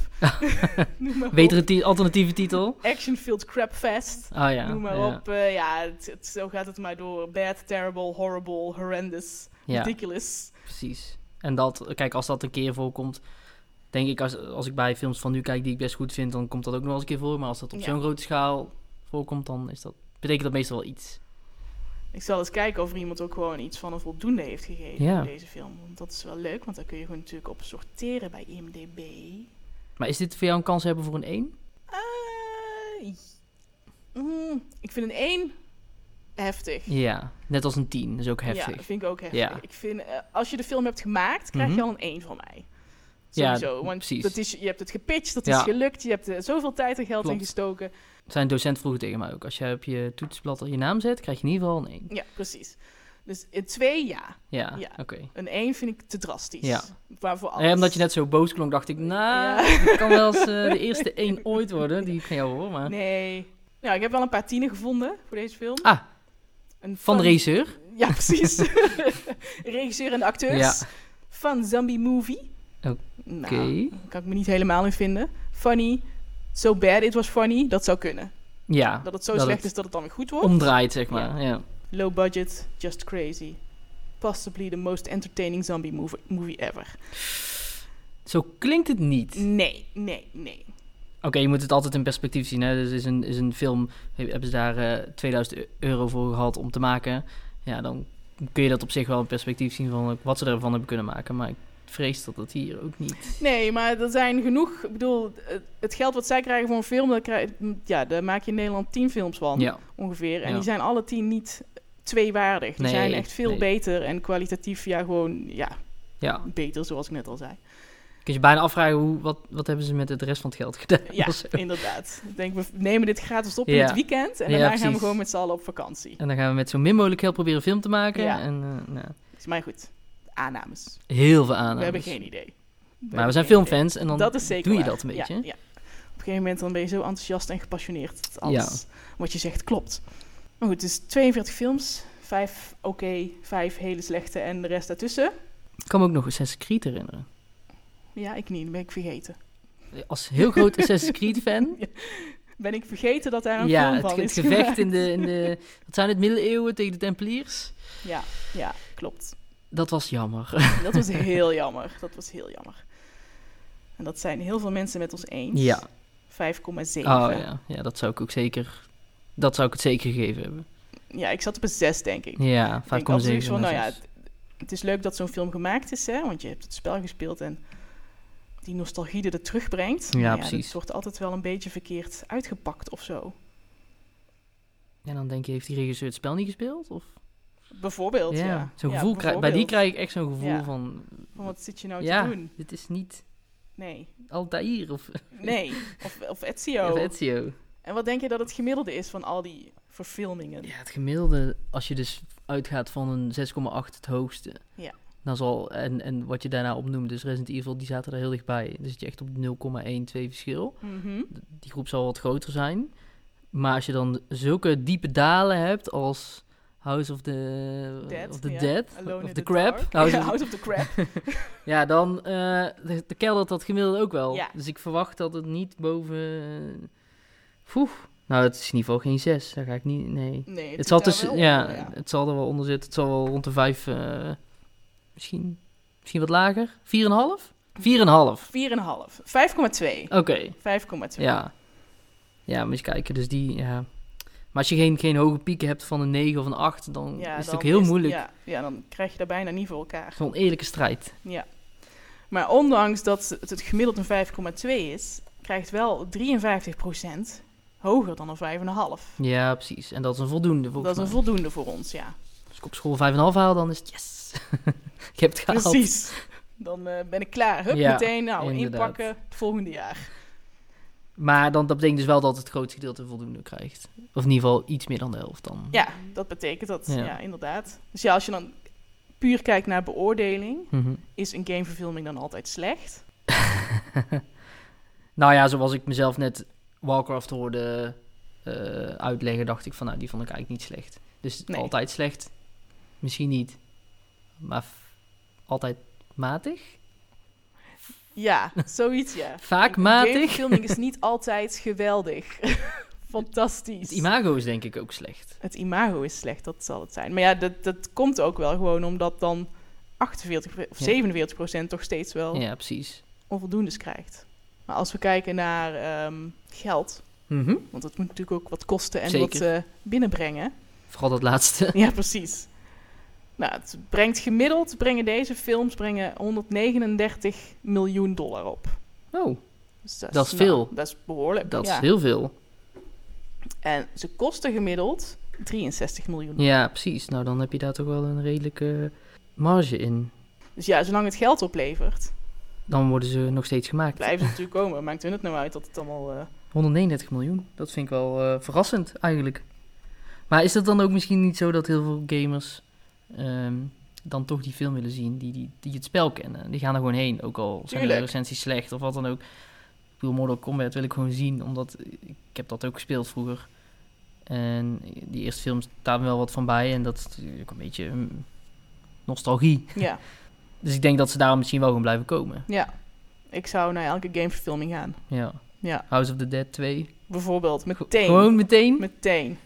Speaker 1: Noem maar op.
Speaker 2: Betere ti- alternatieve titel?
Speaker 1: Action-filled crap fest.
Speaker 2: Ah ja.
Speaker 1: Noem maar
Speaker 2: ja.
Speaker 1: op. eh, ja, het, het- zo gaat het maar door. Bad, terrible, horrible, horrendous,
Speaker 2: Ja,
Speaker 1: ridiculous.
Speaker 2: precies. En dat, kijk, als dat een keer voorkomt, denk ik, als, als ik bij films van nu kijk die ik best goed vind, dan komt dat ook nog wel eens een keer voor. Maar als dat op
Speaker 1: Ja.
Speaker 2: zo'n grote schaal voorkomt, dan is dat, betekent dat meestal wel iets.
Speaker 1: Ik zal eens kijken of er iemand ook gewoon iets van een voldoende heeft gegeven
Speaker 2: Ja.
Speaker 1: aan deze film. Want dat is wel leuk, want dan kun je gewoon natuurlijk op sorteren bij IMDb.
Speaker 2: Maar is dit voor jou een kans hebben voor een 1?
Speaker 1: Eh, mm, ik vind een 1 heftig.
Speaker 2: Ja, net als een 10 is ook
Speaker 1: Ja,
Speaker 2: heftig.
Speaker 1: vind ik ook heftig.
Speaker 2: Ja.
Speaker 1: Ik vind, eh, als je de film hebt gemaakt, krijg
Speaker 2: Mhm.
Speaker 1: je al een 1 van mij.
Speaker 2: Ja,
Speaker 1: Sowieso, want
Speaker 2: precies.
Speaker 1: Dat is, je hebt het gepitcht, dat
Speaker 2: Ja.
Speaker 1: is gelukt, je hebt er zoveel tijd en geld in
Speaker 2: Klopt.
Speaker 1: gestoken.
Speaker 2: Zijn docent vroeg tegen mij ook. Als je op je toetsblad al je naam zet, krijg je in ieder geval een 1.
Speaker 1: Ja, precies. Dus een 2, ja.
Speaker 2: Ja,
Speaker 1: Ja.
Speaker 2: oké.
Speaker 1: Een 1 vind ik te drastisch.
Speaker 2: Ja.
Speaker 1: Waarvoor alles.
Speaker 2: Eh, omdat je net zo boos klonk, dacht ik, nou,
Speaker 1: Ja.
Speaker 2: dat kan wel eens eh, de eerste één ooit worden die ik van jou hoor. Maar...
Speaker 1: Nee. Nou, ik heb wel een paar tienen gevonden voor deze film.
Speaker 2: Ah,
Speaker 1: Een
Speaker 2: van de
Speaker 1: fun-
Speaker 2: regisseur.
Speaker 1: Ja, precies. Regisseur en de acteurs.
Speaker 2: Ja.
Speaker 1: Van Zombie Movie.
Speaker 2: Oké.
Speaker 1: Nou, kan ik me niet helemaal in vinden. Funny. So bad it was funny. Dat zou kunnen.
Speaker 2: Ja,
Speaker 1: Dat het zo
Speaker 2: Dat
Speaker 1: slecht
Speaker 2: het
Speaker 1: is dat het dan weer goed wordt.
Speaker 2: omdraait zeg maar. Ja.
Speaker 1: Low budget, just crazy. Possibly the most entertaining zombie movie, movie ever.
Speaker 2: Zo klinkt het niet.
Speaker 1: Nee, nee, nee.
Speaker 2: Oké, je moet het altijd in perspectief zien. Hè? Dus is een, is een film, he- hebben ze daar eh, 2000 euro voor gehad om te maken. Ja, dan kun je dat op zich wel in perspectief zien van eh, wat ze ervan hebben kunnen maken. Maar ik vrees dat dat hier ook niet...
Speaker 1: Nee, maar er zijn genoeg. Ik bedoel, het- het geld wat zij krijgen voor een film, daar, krijg, ja, daar maak je in Nederland tien films van.
Speaker 2: Ja,
Speaker 1: ongeveer. En
Speaker 2: Ja.
Speaker 1: die zijn alle tien niet tweewaardig. Die
Speaker 2: Nee,
Speaker 1: zijn echt veel
Speaker 2: nee.
Speaker 1: beter en kwalitatief ja gewoon ja,
Speaker 2: ja.
Speaker 1: beter, zoals ik net al zei.
Speaker 2: Kun je bijna afvragen, hoe, wat, wat hebben ze met het rest van het geld gedaan?
Speaker 1: Ja,
Speaker 2: of zo.
Speaker 1: inderdaad. Ik denk, we nemen dit gratis op in
Speaker 2: Ja.
Speaker 1: het weekend en
Speaker 2: Ja,
Speaker 1: daarna gaan we
Speaker 2: precies.
Speaker 1: gewoon met z'n allen op vakantie.
Speaker 2: En dan gaan we met zo min mogelijk geld proberen een film te maken.
Speaker 1: Ja.
Speaker 2: En eh, nou,
Speaker 1: Dus, maar goed, aannames.
Speaker 2: heel veel aandacht.
Speaker 1: We hebben geen idee. hebben
Speaker 2: Maar we zijn
Speaker 1: geen
Speaker 2: filmfans en
Speaker 1: idee.
Speaker 2: dan
Speaker 1: dat is zeker
Speaker 2: doe je
Speaker 1: waar.
Speaker 2: dat een
Speaker 1: Ja,
Speaker 2: beetje.
Speaker 1: Ja, Op een gegeven moment dan ben je zo enthousiast en gepassioneerd dat alles wat je zegt klopt. Maar goed, dus 42 films, 5 oké, 5 hele slechte en de rest daartussen.
Speaker 2: Ik kan me ook nog Assassin's Creed herinneren.
Speaker 1: Ja, ik niet, ben ik vergeten.
Speaker 2: Als heel groot Assassin's Creed fan.
Speaker 1: Ben ik vergeten dat daar een
Speaker 2: ja,
Speaker 1: film
Speaker 2: het,
Speaker 1: van
Speaker 2: ge- het
Speaker 1: is
Speaker 2: gevecht
Speaker 1: gemaakt?
Speaker 2: in de, in de... Wat zijn het? Middeleeuwen tegen de Tempeliers?
Speaker 1: Ja, ja, klopt.
Speaker 2: Dat was jammer.
Speaker 1: Dat was heel jammer. Dat was heel jammer. En dat zijn heel veel mensen met ons eens.
Speaker 2: Ja.
Speaker 1: 5,7.
Speaker 2: Oh ja. ja, dat zou ik ook zeker... Dat zou ik het zeker gegeven hebben.
Speaker 1: Ja, ik zat op een 6, denk ik.
Speaker 2: Ja, 5,7.
Speaker 1: Ik denk altijd zoiets van,
Speaker 2: naar
Speaker 1: nou ja,
Speaker 2: zes.
Speaker 1: het, het is leuk dat zo'n film gemaakt is, hè? want je hebt het spel gespeeld en die nostalgie die dat terugbrengt.
Speaker 2: Ja,
Speaker 1: Maar
Speaker 2: precies.
Speaker 1: Het wordt altijd wel een beetje verkeerd uitgepakt of zo.
Speaker 2: En dan denk je, heeft die regisseur het spel niet gespeeld? Of...
Speaker 1: Bijvoorbeeld, ja.
Speaker 2: Zo'n
Speaker 1: Ja,
Speaker 2: gevoel krijg, bij die
Speaker 1: bijvoorbeeld.
Speaker 2: krijg ik echt zo'n gevoel
Speaker 1: Ja.
Speaker 2: van...
Speaker 1: Van, wat zit je nou
Speaker 2: ja,
Speaker 1: te doen?
Speaker 2: dit is niet
Speaker 1: Nee,
Speaker 2: Altair of,
Speaker 1: nee. Of, of Ezio.
Speaker 2: of Ezio.
Speaker 1: En wat denk je dat het gemiddelde is van al die verfilmingen?
Speaker 2: Ja, het gemiddelde, als je dus uitgaat van een 6,8 het hoogste.
Speaker 1: Ja.
Speaker 2: Dan zal, en, en wat je daarna opnoemt, dus Resident Evil, die zaten er heel dichtbij. Dus je echt op 0,12 verschil.
Speaker 1: Mhm.
Speaker 2: Die groep zal wat groter zijn. Maar als je dan zulke diepe dalen hebt als House of the
Speaker 1: Dead.
Speaker 2: of the,
Speaker 1: ja.
Speaker 2: Dead,
Speaker 1: Alone
Speaker 2: of
Speaker 1: in
Speaker 2: the, Crab. Nou,
Speaker 1: Dark.
Speaker 2: House
Speaker 1: Ja,
Speaker 2: of the-
Speaker 1: House of the Crab.
Speaker 2: ja, dan eh, de, de keldert dat gemiddelde ook wel.
Speaker 1: Ja.
Speaker 2: Dus ik verwacht dat het niet boven... eh, Poeh. Nou, het is in ieder geval geen 6. Daar ga ik niet... Nee.
Speaker 1: Nee,
Speaker 2: Het
Speaker 1: zit
Speaker 2: zal,
Speaker 1: daar
Speaker 2: tussen-
Speaker 1: wel
Speaker 2: ja,
Speaker 1: onder, ja.
Speaker 2: het zal er wel onder zitten. Het zal wel rond de 5, misschien, misschien wat lager. 4,5? 4,5.
Speaker 1: 4,5. 5,2.
Speaker 2: Oké,
Speaker 1: 5,2.
Speaker 2: ja. Ja, maar eens kijken. Dus die, ja. Maar als je geen, geen hoge pieken hebt van een 9 of een 8, dan
Speaker 1: Ja,
Speaker 2: is het
Speaker 1: dan
Speaker 2: ook heel
Speaker 1: is-
Speaker 2: moeilijk.
Speaker 1: Ja, ja, dan krijg je daar bijna niet voor elkaar.
Speaker 2: Zo'n eerlijke strijd.
Speaker 1: Ja. Maar ondanks dat het het gemiddeld een 5,2 is, krijgt wel 53% hoger dan een 5,5.
Speaker 2: Ja, precies. En dat is een voldoende
Speaker 1: Dat
Speaker 2: volgens
Speaker 1: is een
Speaker 2: mij.
Speaker 1: voldoende voor ons, ja.
Speaker 2: Als ik op school 5,5 haal, dan is het yes. ik heb het gehaald.
Speaker 1: Precies. Dan eh, ben ik klaar. Hup,
Speaker 2: Ja,
Speaker 1: meteen. Nou,
Speaker 2: inderdaad.
Speaker 1: inpakken het volgende jaar.
Speaker 2: Maar dan, dat betekent dus wel dat het grootste gedeelte voldoende krijgt. Of in ieder geval iets meer dan de helft dan.
Speaker 1: Ja, dat betekent dat.
Speaker 2: Ja.
Speaker 1: Ja, inderdaad. Dus ja, als je dan puur kijkt naar beoordeling,
Speaker 2: Mhm.
Speaker 1: is een gameverfilming dan altijd slecht?
Speaker 2: Nou ja, zoals ik mezelf net Warcraft hoorde eh, uitleggen, dacht ik van nou, die vond ik eigenlijk niet slecht. Dus
Speaker 1: Nee.
Speaker 2: altijd slecht, misschien niet. Maar f- altijd matig?
Speaker 1: Ja, zoiets ja.
Speaker 2: Vaak
Speaker 1: Een
Speaker 2: matig.
Speaker 1: Gameverfilming is niet altijd geweldig. Fantastisch.
Speaker 2: Het imago is denk ik ook slecht.
Speaker 1: Het imago is slecht, dat zal het zijn. Maar ja, dat, dat komt ook wel gewoon omdat dan 48 pre- of
Speaker 2: Ja.
Speaker 1: 47 procent toch steeds wel
Speaker 2: Ja, precies.
Speaker 1: onvoldoendes krijgt. Maar als we kijken naar ehm, geld,
Speaker 2: Mhm.
Speaker 1: want het moet natuurlijk ook wat kosten en
Speaker 2: Zeker.
Speaker 1: wat eh, binnenbrengen.
Speaker 2: Vooral dat laatste.
Speaker 1: Ja, precies. Nou, het brengt gemiddeld, brengen deze films brengen 139 miljoen dollar op.
Speaker 2: Oh,
Speaker 1: Dus
Speaker 2: Dat is
Speaker 1: nou,
Speaker 2: veel.
Speaker 1: dat is behoorlijk.
Speaker 2: dat
Speaker 1: ja.
Speaker 2: is heel veel.
Speaker 1: En ze kosten gemiddeld 3,8 63 miljoen.
Speaker 2: Ja, precies. Nou, dan heb je daar toch wel een redelijke marge in.
Speaker 1: Dus ja, zolang het geld oplevert,
Speaker 2: Dan worden ze nog steeds gemaakt.
Speaker 1: blijven ze natuurlijk komen. Maakt hun het nou uit dat het allemaal... eh,
Speaker 2: 139 miljoen. Dat vind ik wel eh, verrassend eigenlijk. Maar is dat dan ook misschien niet zo dat heel veel gamers ehm, dan toch die film willen zien die, die, die het spel kennen? Die gaan er gewoon heen, ook al zijn de
Speaker 1: Tuurlijk.
Speaker 2: recensies slecht of wat dan ook. Ik bedoel, Mortal Kombat wil ik gewoon zien, omdat ik heb dat ook gespeeld vroeger. En die eerste film staat me wel wat van bij en dat is natuurlijk ook een beetje mm, nostalgie.
Speaker 1: ja,
Speaker 2: Dus ik denk dat ze daarom misschien wel gewoon blijven komen.
Speaker 1: ja. Ik zou naar elke gameverfilming gaan.
Speaker 2: Ja.
Speaker 1: Ja.
Speaker 2: House of the Dead 2.
Speaker 1: Bijvoorbeeld,
Speaker 2: Go-
Speaker 1: meteen.
Speaker 2: Gewoon meteen?
Speaker 1: Meteen.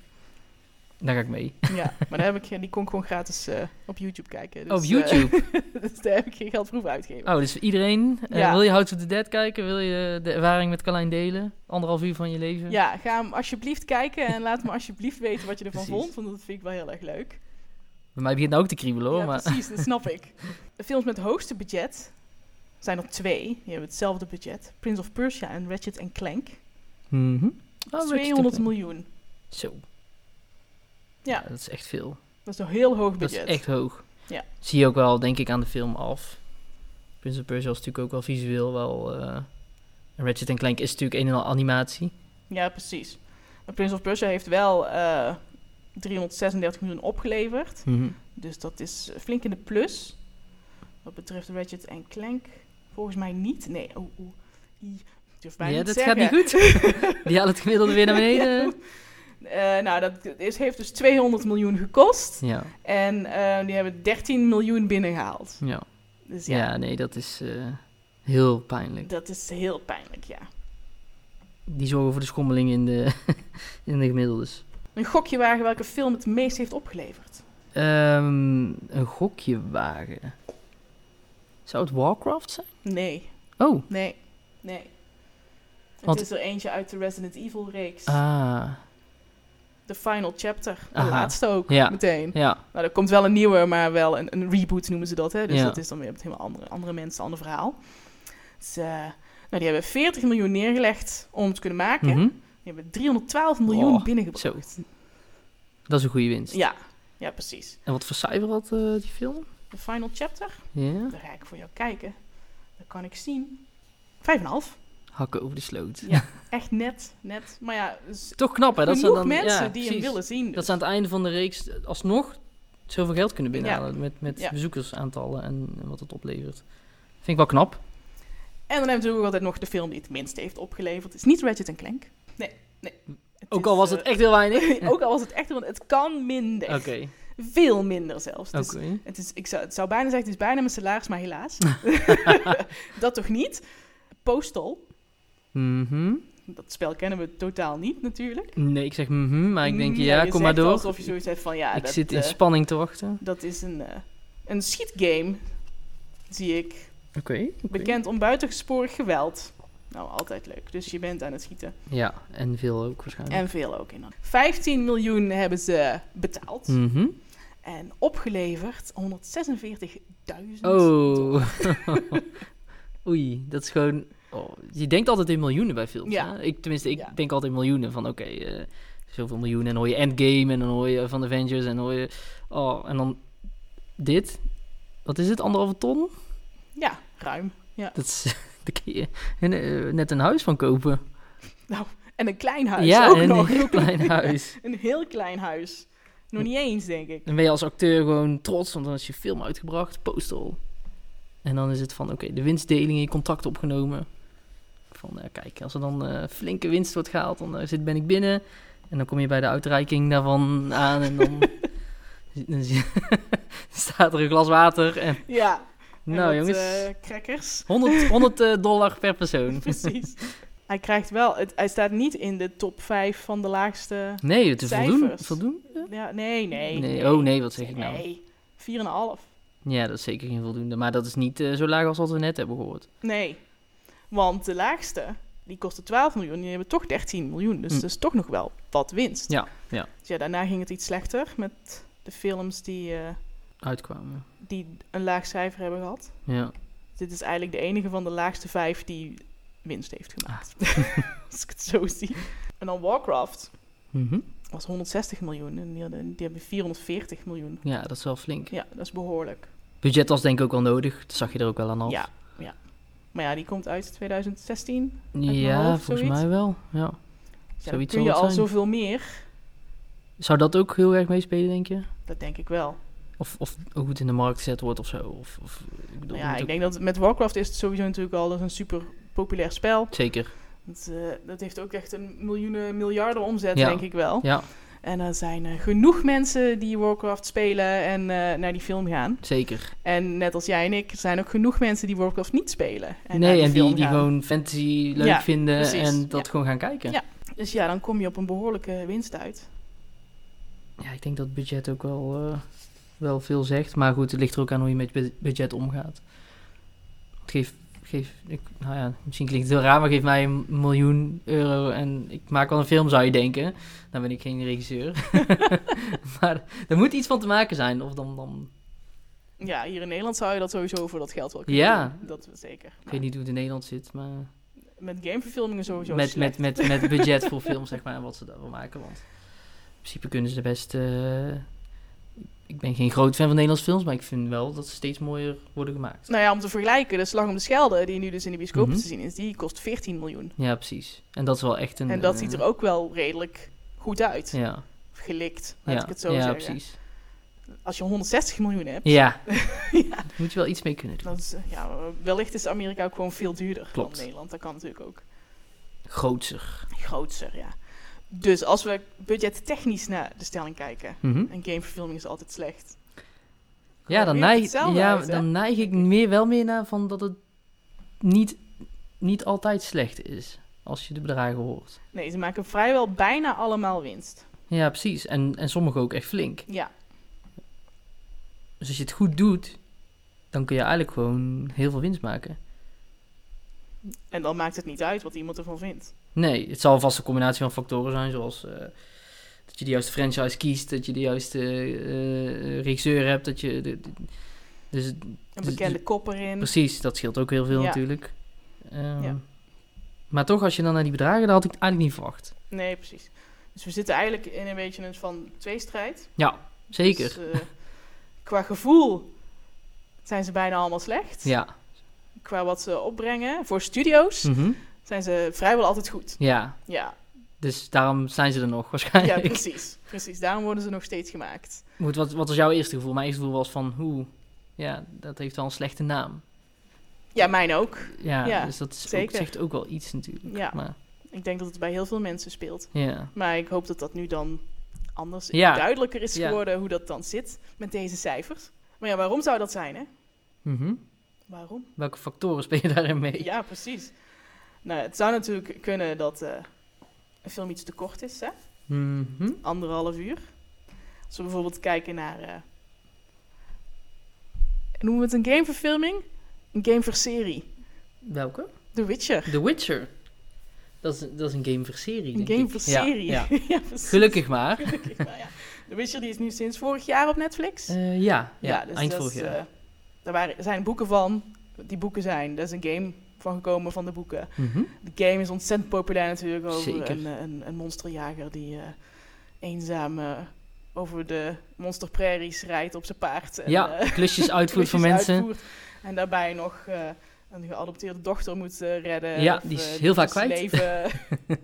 Speaker 2: Daar ga ik mee.
Speaker 1: Ja, maar daar heb ik, geen- die kon ik gewoon gratis eh, op YouTube kijken. Dus, eh,
Speaker 2: op Oh, YouTube.
Speaker 1: dus daar heb ik geen geld voor hoeven uitgeven.
Speaker 2: Oh, dus iedereen. eh,
Speaker 1: Ja.
Speaker 2: wil je House of the Dead kijken? Wil je de ervaring met Carlijn delen? Anderhalf uur van je leven?
Speaker 1: Ja, ga hem alsjeblieft kijken en laat me alsjeblieft weten wat je ervan
Speaker 2: Precies.
Speaker 1: vond. Want dat vind ik wel heel erg leuk.
Speaker 2: Bij mij begint nou ook te kriebelen hoor.
Speaker 1: ja,
Speaker 2: maar
Speaker 1: precies, dat snap ik. De films met het hoogste budget zijn er twee. Die hebben hetzelfde budget. Prince of Persia en Ratchet and Clank.
Speaker 2: Mhm.
Speaker 1: Dat
Speaker 2: Oh,
Speaker 1: is
Speaker 2: weet je
Speaker 1: 200
Speaker 2: toch-
Speaker 1: miljoen.
Speaker 2: Zo.
Speaker 1: Ja.
Speaker 2: dat is echt veel.
Speaker 1: Dat is een heel hoog
Speaker 2: Dat is
Speaker 1: budget.
Speaker 2: echt hoog.
Speaker 1: Ja.
Speaker 2: Zie je ook wel, denk ik, aan de film af. Prince of Persia is natuurlijk ook wel visueel wel. eh en Ratchet en Clank is natuurlijk een en al animatie.
Speaker 1: Ja, precies. Maar Prince of Persia heeft wel eh, 336 miljoen opgeleverd.
Speaker 2: Mhm.
Speaker 1: Dus dat is eh, flink in de plus. Wat betreft Ratchet en Clank, volgens mij niet. Nee, oh, oh. I, ik durf bijna
Speaker 2: Ja,
Speaker 1: niet
Speaker 2: dat
Speaker 1: te
Speaker 2: gaat niet
Speaker 1: zeggen.
Speaker 2: goed. Die haalt het gemiddelde weer naar beneden.
Speaker 1: Eh, nou, dat is, heeft dus 200 miljoen gekost.
Speaker 2: Ja,
Speaker 1: En eh, die hebben 13 miljoen binnengehaald.
Speaker 2: ja.
Speaker 1: Dus ja,
Speaker 2: ja nee, dat is eh, heel pijnlijk.
Speaker 1: dat is heel pijnlijk, ja.
Speaker 2: Die zorgen voor de schommeling in de, in de gemiddeldes.
Speaker 1: Een gokje wagen welke film het meest heeft opgeleverd.
Speaker 2: Ehm, een gokje wagen. Zou het Warcraft zijn?
Speaker 1: Nee,
Speaker 2: Oh,
Speaker 1: nee, nee.
Speaker 2: Want-
Speaker 1: Het is er eentje uit de Resident Evil reeks.
Speaker 2: ah.
Speaker 1: The Final Chapter. De
Speaker 2: Aha.
Speaker 1: laatste ook,
Speaker 2: Ja.
Speaker 1: meteen.
Speaker 2: Ja,
Speaker 1: Nou, er komt wel een nieuwe, maar wel een, een reboot noemen ze dat. Hè? Dus
Speaker 2: Ja.
Speaker 1: dat is dan weer met helemaal andere, andere mensen, ander verhaal. Dus, eh, nou, die hebben 40 miljoen neergelegd om het te kunnen maken.
Speaker 2: mhm.
Speaker 1: Die hebben 312 miljoen
Speaker 2: Oh,
Speaker 1: binnengebracht.
Speaker 2: dat is een goede winst.
Speaker 1: Ja, ja, precies.
Speaker 2: En wat voor cijfer had eh, die film?
Speaker 1: De Final Chapter,
Speaker 2: Ja,
Speaker 1: daar ga ik voor jou kijken. Dat kan ik zien. 5,5.
Speaker 2: hakken over de sloot.
Speaker 1: Ja. Echt net, net. Maar ja, dus
Speaker 2: Toch knap hè? Dat zijn
Speaker 1: genoeg
Speaker 2: dan,
Speaker 1: mensen
Speaker 2: ja,
Speaker 1: die hem
Speaker 2: precies.
Speaker 1: willen zien. dus.
Speaker 2: Dat ze aan het einde van de reeks alsnog zoveel geld kunnen binnenhalen. Met, met
Speaker 1: Ja.
Speaker 2: bezoekersaantallen en, en wat het oplevert. Vind ik wel knap.
Speaker 1: En dan hebben we natuurlijk ook altijd nog de film die het minste heeft opgeleverd. Het is niet Ratchet en Clank. Nee, nee. Het
Speaker 2: Ook
Speaker 1: is,
Speaker 2: al was
Speaker 1: eh,
Speaker 2: het echt heel weinig.
Speaker 1: ook al was het echt, want het kan minder.
Speaker 2: Oké,
Speaker 1: Veel minder zelfs. Dus
Speaker 2: oké.
Speaker 1: het, is, ik zou, het zou bijna zeggen, het is bijna mijn salaris, maar helaas. dat toch niet. Postal,
Speaker 2: Mhm.
Speaker 1: dat spel kennen we totaal niet natuurlijk.
Speaker 2: Nee, ik zeg mhm, maar ik denk
Speaker 1: Mm,
Speaker 2: ja,
Speaker 1: je
Speaker 2: kom maar
Speaker 1: zegt
Speaker 2: door.
Speaker 1: Alsof je zoiets hebt van, ja,
Speaker 2: ik
Speaker 1: dat,
Speaker 2: zit in
Speaker 1: eh,
Speaker 2: spanning te wachten.
Speaker 1: dat is een, eh, een schietgame, zie ik.
Speaker 2: Oké.
Speaker 1: Bekend om buitengesporig geweld. Nou, altijd leuk. Dus je bent aan het schieten.
Speaker 2: Ja, en veel ook waarschijnlijk.
Speaker 1: En veel ook in. 15 miljoen hebben ze betaald.
Speaker 2: Mhm.
Speaker 1: En opgeleverd 146.000.
Speaker 2: Oh. Oei, dat is gewoon... Oh, je denkt altijd in miljoenen bij films.
Speaker 1: Ja.
Speaker 2: hè? Ik, tenminste, ik
Speaker 1: Ja.
Speaker 2: denk altijd in miljoenen. Van oké, eh, zoveel miljoenen. En dan hoor je Endgame en dan hoor je van Avengers en dan hoor je... Oh, en dan dit. Wat is het? Anderhalve ton?
Speaker 1: Ja, ruim.
Speaker 2: Dat is... Daar kun je eh, net een huis van kopen.
Speaker 1: En een klein huis
Speaker 2: ja,
Speaker 1: ook
Speaker 2: en
Speaker 1: nog.
Speaker 2: een heel klein huis. Mm.
Speaker 1: een heel klein huis. Nog niet eens, denk ik.
Speaker 2: Dan ben je als acteur gewoon trots, want dan is je film uitgebracht, postal. En dan is het van, oké, de winstdeling, je contract opgenomen. Van, eh, kijk, als er dan eh, flinke winst wordt gehaald, dan eh, zit, ben ik binnen. En dan kom je bij de uitreiking daarvan aan en dan, dan zie- staat er een glas water. En,
Speaker 1: Ja. En
Speaker 2: nou
Speaker 1: wat,
Speaker 2: jongens,
Speaker 1: eh, crackers.
Speaker 2: 100, 100 eh, dollar per persoon.
Speaker 1: Precies. hij krijgt wel... Het, hij staat niet in de top 5 van de laagste...
Speaker 2: Nee, het is voldoende.
Speaker 1: Cijfers.
Speaker 2: voldoende?
Speaker 1: Ja, nee, nee,
Speaker 2: Oh nee, wat zeg ik nou?
Speaker 1: Nee. 4,5.
Speaker 2: Ja, dat is zeker geen voldoende. Maar dat is niet eh, zo laag als wat we net hebben gehoord.
Speaker 1: Nee. Want de laagste, die kostte 12 miljoen. Die hebben toch 13 miljoen. Dus
Speaker 2: Hm.
Speaker 1: dat is toch nog wel wat winst.
Speaker 2: Ja, ja.
Speaker 1: Dus ja, daarna ging het iets slechter met de films die, eh,
Speaker 2: Uitkwamen.
Speaker 1: die een laag cijfer hebben gehad.
Speaker 2: Ja.
Speaker 1: Dit is eigenlijk de enige van de laagste vijf die
Speaker 2: Ah.
Speaker 1: winst heeft gemaakt. Als ik het zo zie. En dan Warcraft.
Speaker 2: Mhm.
Speaker 1: Dat was 160 miljoen en die, hadden, die hebben 440 miljoen.
Speaker 2: Ja, dat is wel flink.
Speaker 1: Ja, dat is behoorlijk.
Speaker 2: Budget was denk ik ook wel nodig. Dat zag je er ook wel aan af.
Speaker 1: Ja, ja. Maar ja, die komt uit 2016. mijn
Speaker 2: Ja,
Speaker 1: hoofd,
Speaker 2: volgens
Speaker 1: zoiets.
Speaker 2: mij wel. Ja.
Speaker 1: Dus ja, dan
Speaker 2: Zoiets
Speaker 1: kun
Speaker 2: zal
Speaker 1: je
Speaker 2: het
Speaker 1: al
Speaker 2: zijn.
Speaker 1: zoveel meer.
Speaker 2: Zou dat ook heel erg meespelen, denk je?
Speaker 1: Dat denk ik wel.
Speaker 2: Of, of hoe het in de markt gezet wordt of zo? Of, of, ik bedoel,
Speaker 1: Nou
Speaker 2: het
Speaker 1: ja, ik
Speaker 2: ook-
Speaker 1: denk dat met Warcraft is het sowieso natuurlijk al dat is een super populair spel.
Speaker 2: Zeker.
Speaker 1: Dat, eh, dat heeft ook echt een miljoenen, miljarden omzet,
Speaker 2: Ja.
Speaker 1: denk ik wel.
Speaker 2: Ja,
Speaker 1: En er zijn eh, genoeg mensen die Warcraft spelen en eh, naar die film gaan.
Speaker 2: zeker.
Speaker 1: En net als jij en ik zijn ook genoeg mensen die Warcraft niet spelen. En naar
Speaker 2: nee, en die,
Speaker 1: film
Speaker 2: die
Speaker 1: gaan.
Speaker 2: gewoon fantasy leuk
Speaker 1: Ja,
Speaker 2: vinden
Speaker 1: precies.
Speaker 2: en dat gewoon gaan kijken.
Speaker 1: Ja. Dus ja, dan kom je op een behoorlijke winst uit.
Speaker 2: Ja, ik denk dat budget ook wel, eh, wel veel zegt. Maar goed, het ligt er ook aan hoe je met bu- budget omgaat. Het geeft, geeft ik, nou ja, misschien klinkt het heel raar, maar geef mij een miljoen euro en ik maak wel een film, zou je denken. Dan ben ik geen regisseur. maar er moet iets van te maken zijn. Of dan, dan
Speaker 1: Ja, hier in Nederland zou je dat sowieso voor dat geld wel kunnen
Speaker 2: Ja.
Speaker 1: doen. Dat zeker.
Speaker 2: ik weet niet hoe het in Nederland zit, maar
Speaker 1: Met gameverfilmingen sowieso
Speaker 2: met,
Speaker 1: slecht.
Speaker 2: met, met, met budget voor films, zeg maar, en wat ze daarvan maken. Want in principe kunnen ze de beste... eh, ik ben geen groot fan van Nederlandse films, maar ik vind wel dat ze steeds mooier worden gemaakt.
Speaker 1: Nou ja, om te vergelijken, de Slag om de Schelde, die nu dus in de bioscopen
Speaker 2: Mhm.
Speaker 1: te zien is, die kost 14 miljoen.
Speaker 2: Ja, precies. En dat is wel echt een...
Speaker 1: En dat
Speaker 2: eh,
Speaker 1: ziet er ook wel redelijk goed uit.
Speaker 2: Ja,
Speaker 1: Gelikt, laat
Speaker 2: ja,
Speaker 1: ik het zo
Speaker 2: ja
Speaker 1: zeggen.
Speaker 2: precies.
Speaker 1: Als je 160 miljoen hebt,
Speaker 2: Ja. Daar moet je wel iets mee kunnen doen.
Speaker 1: dan is, eh, ja, wellicht is Amerika ook gewoon veel duurder
Speaker 2: Klopt.
Speaker 1: dan Nederland. Dat kan natuurlijk ook.
Speaker 2: Grootser.
Speaker 1: Grootser, ja. Dus als we budgettechnisch naar de stelling kijken,
Speaker 2: Mhm.
Speaker 1: een gameverfilming is altijd slecht.
Speaker 2: Ja, dan
Speaker 1: Weer
Speaker 2: neig,
Speaker 1: hetzelfde
Speaker 2: ja,
Speaker 1: uit, hè?
Speaker 2: dan neig ik meer, wel meer naar van dat het niet, niet altijd slecht is. Als je de bedragen hoort.
Speaker 1: Nee, ze maken vrijwel bijna allemaal winst.
Speaker 2: Ja, precies. En, en sommige ook echt flink.
Speaker 1: Ja,
Speaker 2: Dus als je het goed doet, dan kun je eigenlijk gewoon heel veel winst maken.
Speaker 1: en dan maakt het niet uit wat iemand ervan vindt.
Speaker 2: Nee, het zal vast een combinatie van factoren zijn, zoals eh, dat je de juiste franchise kiest, dat je de juiste eh, eh, regisseur hebt, dat je... de- de- dus
Speaker 1: Een
Speaker 2: Dus-
Speaker 1: bekende kop erin.
Speaker 2: Precies, dat scheelt ook heel veel
Speaker 1: Mm. Ja.
Speaker 2: natuurlijk. Ehm,
Speaker 1: Ja.
Speaker 2: Maar toch, als je dan naar die bedragen, dat had ik eigenlijk niet verwacht.
Speaker 1: Nee, precies. Dus we zitten eigenlijk in een beetje een van tweestrijd.
Speaker 2: Ja, zeker.
Speaker 1: Dus, eh, qua gevoel zijn ze bijna allemaal slecht.
Speaker 2: ja.
Speaker 1: Qua wat ze opbrengen voor studio's
Speaker 2: Mhm.
Speaker 1: zijn ze vrijwel altijd goed.
Speaker 2: ja,
Speaker 1: Ja,
Speaker 2: dus daarom zijn ze er nog
Speaker 1: ja
Speaker 2: waarschijnlijk.
Speaker 1: precies. precies. Daarom worden ze nog steeds gemaakt.
Speaker 2: Goed, wat, wat was jouw eerste gevoel? Mijn eerste gevoel was van, hoe, ja, dat heeft wel een slechte naam.
Speaker 1: Ja, mijn ook.
Speaker 2: Ja,
Speaker 1: Ja,
Speaker 2: dus dat is ook-
Speaker 1: zeker.
Speaker 2: zegt ook wel iets natuurlijk.
Speaker 1: Ja.
Speaker 2: Maar,
Speaker 1: Ik denk dat het bij heel veel mensen speelt.
Speaker 2: ja.
Speaker 1: Maar ik hoop dat dat nu dan anders
Speaker 2: Ja.
Speaker 1: duidelijker is
Speaker 2: Ja.
Speaker 1: geworden hoe dat dan zit met deze cijfers. Maar ja, waarom zou dat zijn, hè?
Speaker 2: Mhm.
Speaker 1: Waarom?
Speaker 2: Welke factoren spelen daarin mee?
Speaker 1: Ja, precies. Nou, het zou natuurlijk kunnen dat eh, een film iets te kort is, hè?
Speaker 2: Mhm.
Speaker 1: anderhalf uur. Als we bijvoorbeeld kijken naar. eh, noemen we het een gameverfilming? Een gameverserie.
Speaker 2: Welke?
Speaker 1: The Witcher.
Speaker 2: The Witcher. Dat is, dat is een game voor serie,
Speaker 1: Een
Speaker 2: denk ik.
Speaker 1: gameverserie.
Speaker 2: Ja, ja.
Speaker 1: precies.
Speaker 2: Gelukkig maar.
Speaker 1: Gelukkig wel, ja. The Witcher die is nu sinds vorig jaar op Netflix.
Speaker 2: Eh, ja, ja, eind
Speaker 1: dat
Speaker 2: vorig
Speaker 1: is,
Speaker 2: jaar.
Speaker 1: eh, daar waren, zijn boeken van. Die boeken zijn. Daar is een game van gekomen van de boeken.
Speaker 2: Mhm.
Speaker 1: De game is ontzettend populair natuurlijk over
Speaker 2: Zeker.
Speaker 1: een, eh, een, een monsterjager die eh, eenzaam eh, over de monsterprairies rijdt op zijn paard. En,
Speaker 2: ja,
Speaker 1: eh,
Speaker 2: klusjes uitvoert voor
Speaker 1: klusjes
Speaker 2: mensen.
Speaker 1: uitvoert. En daarbij nog eh, een geadopteerde dochter moet eh, redden.
Speaker 2: Ja,
Speaker 1: of,
Speaker 2: die is
Speaker 1: eh,
Speaker 2: heel vaak
Speaker 1: moest
Speaker 2: kwijt.
Speaker 1: Leven,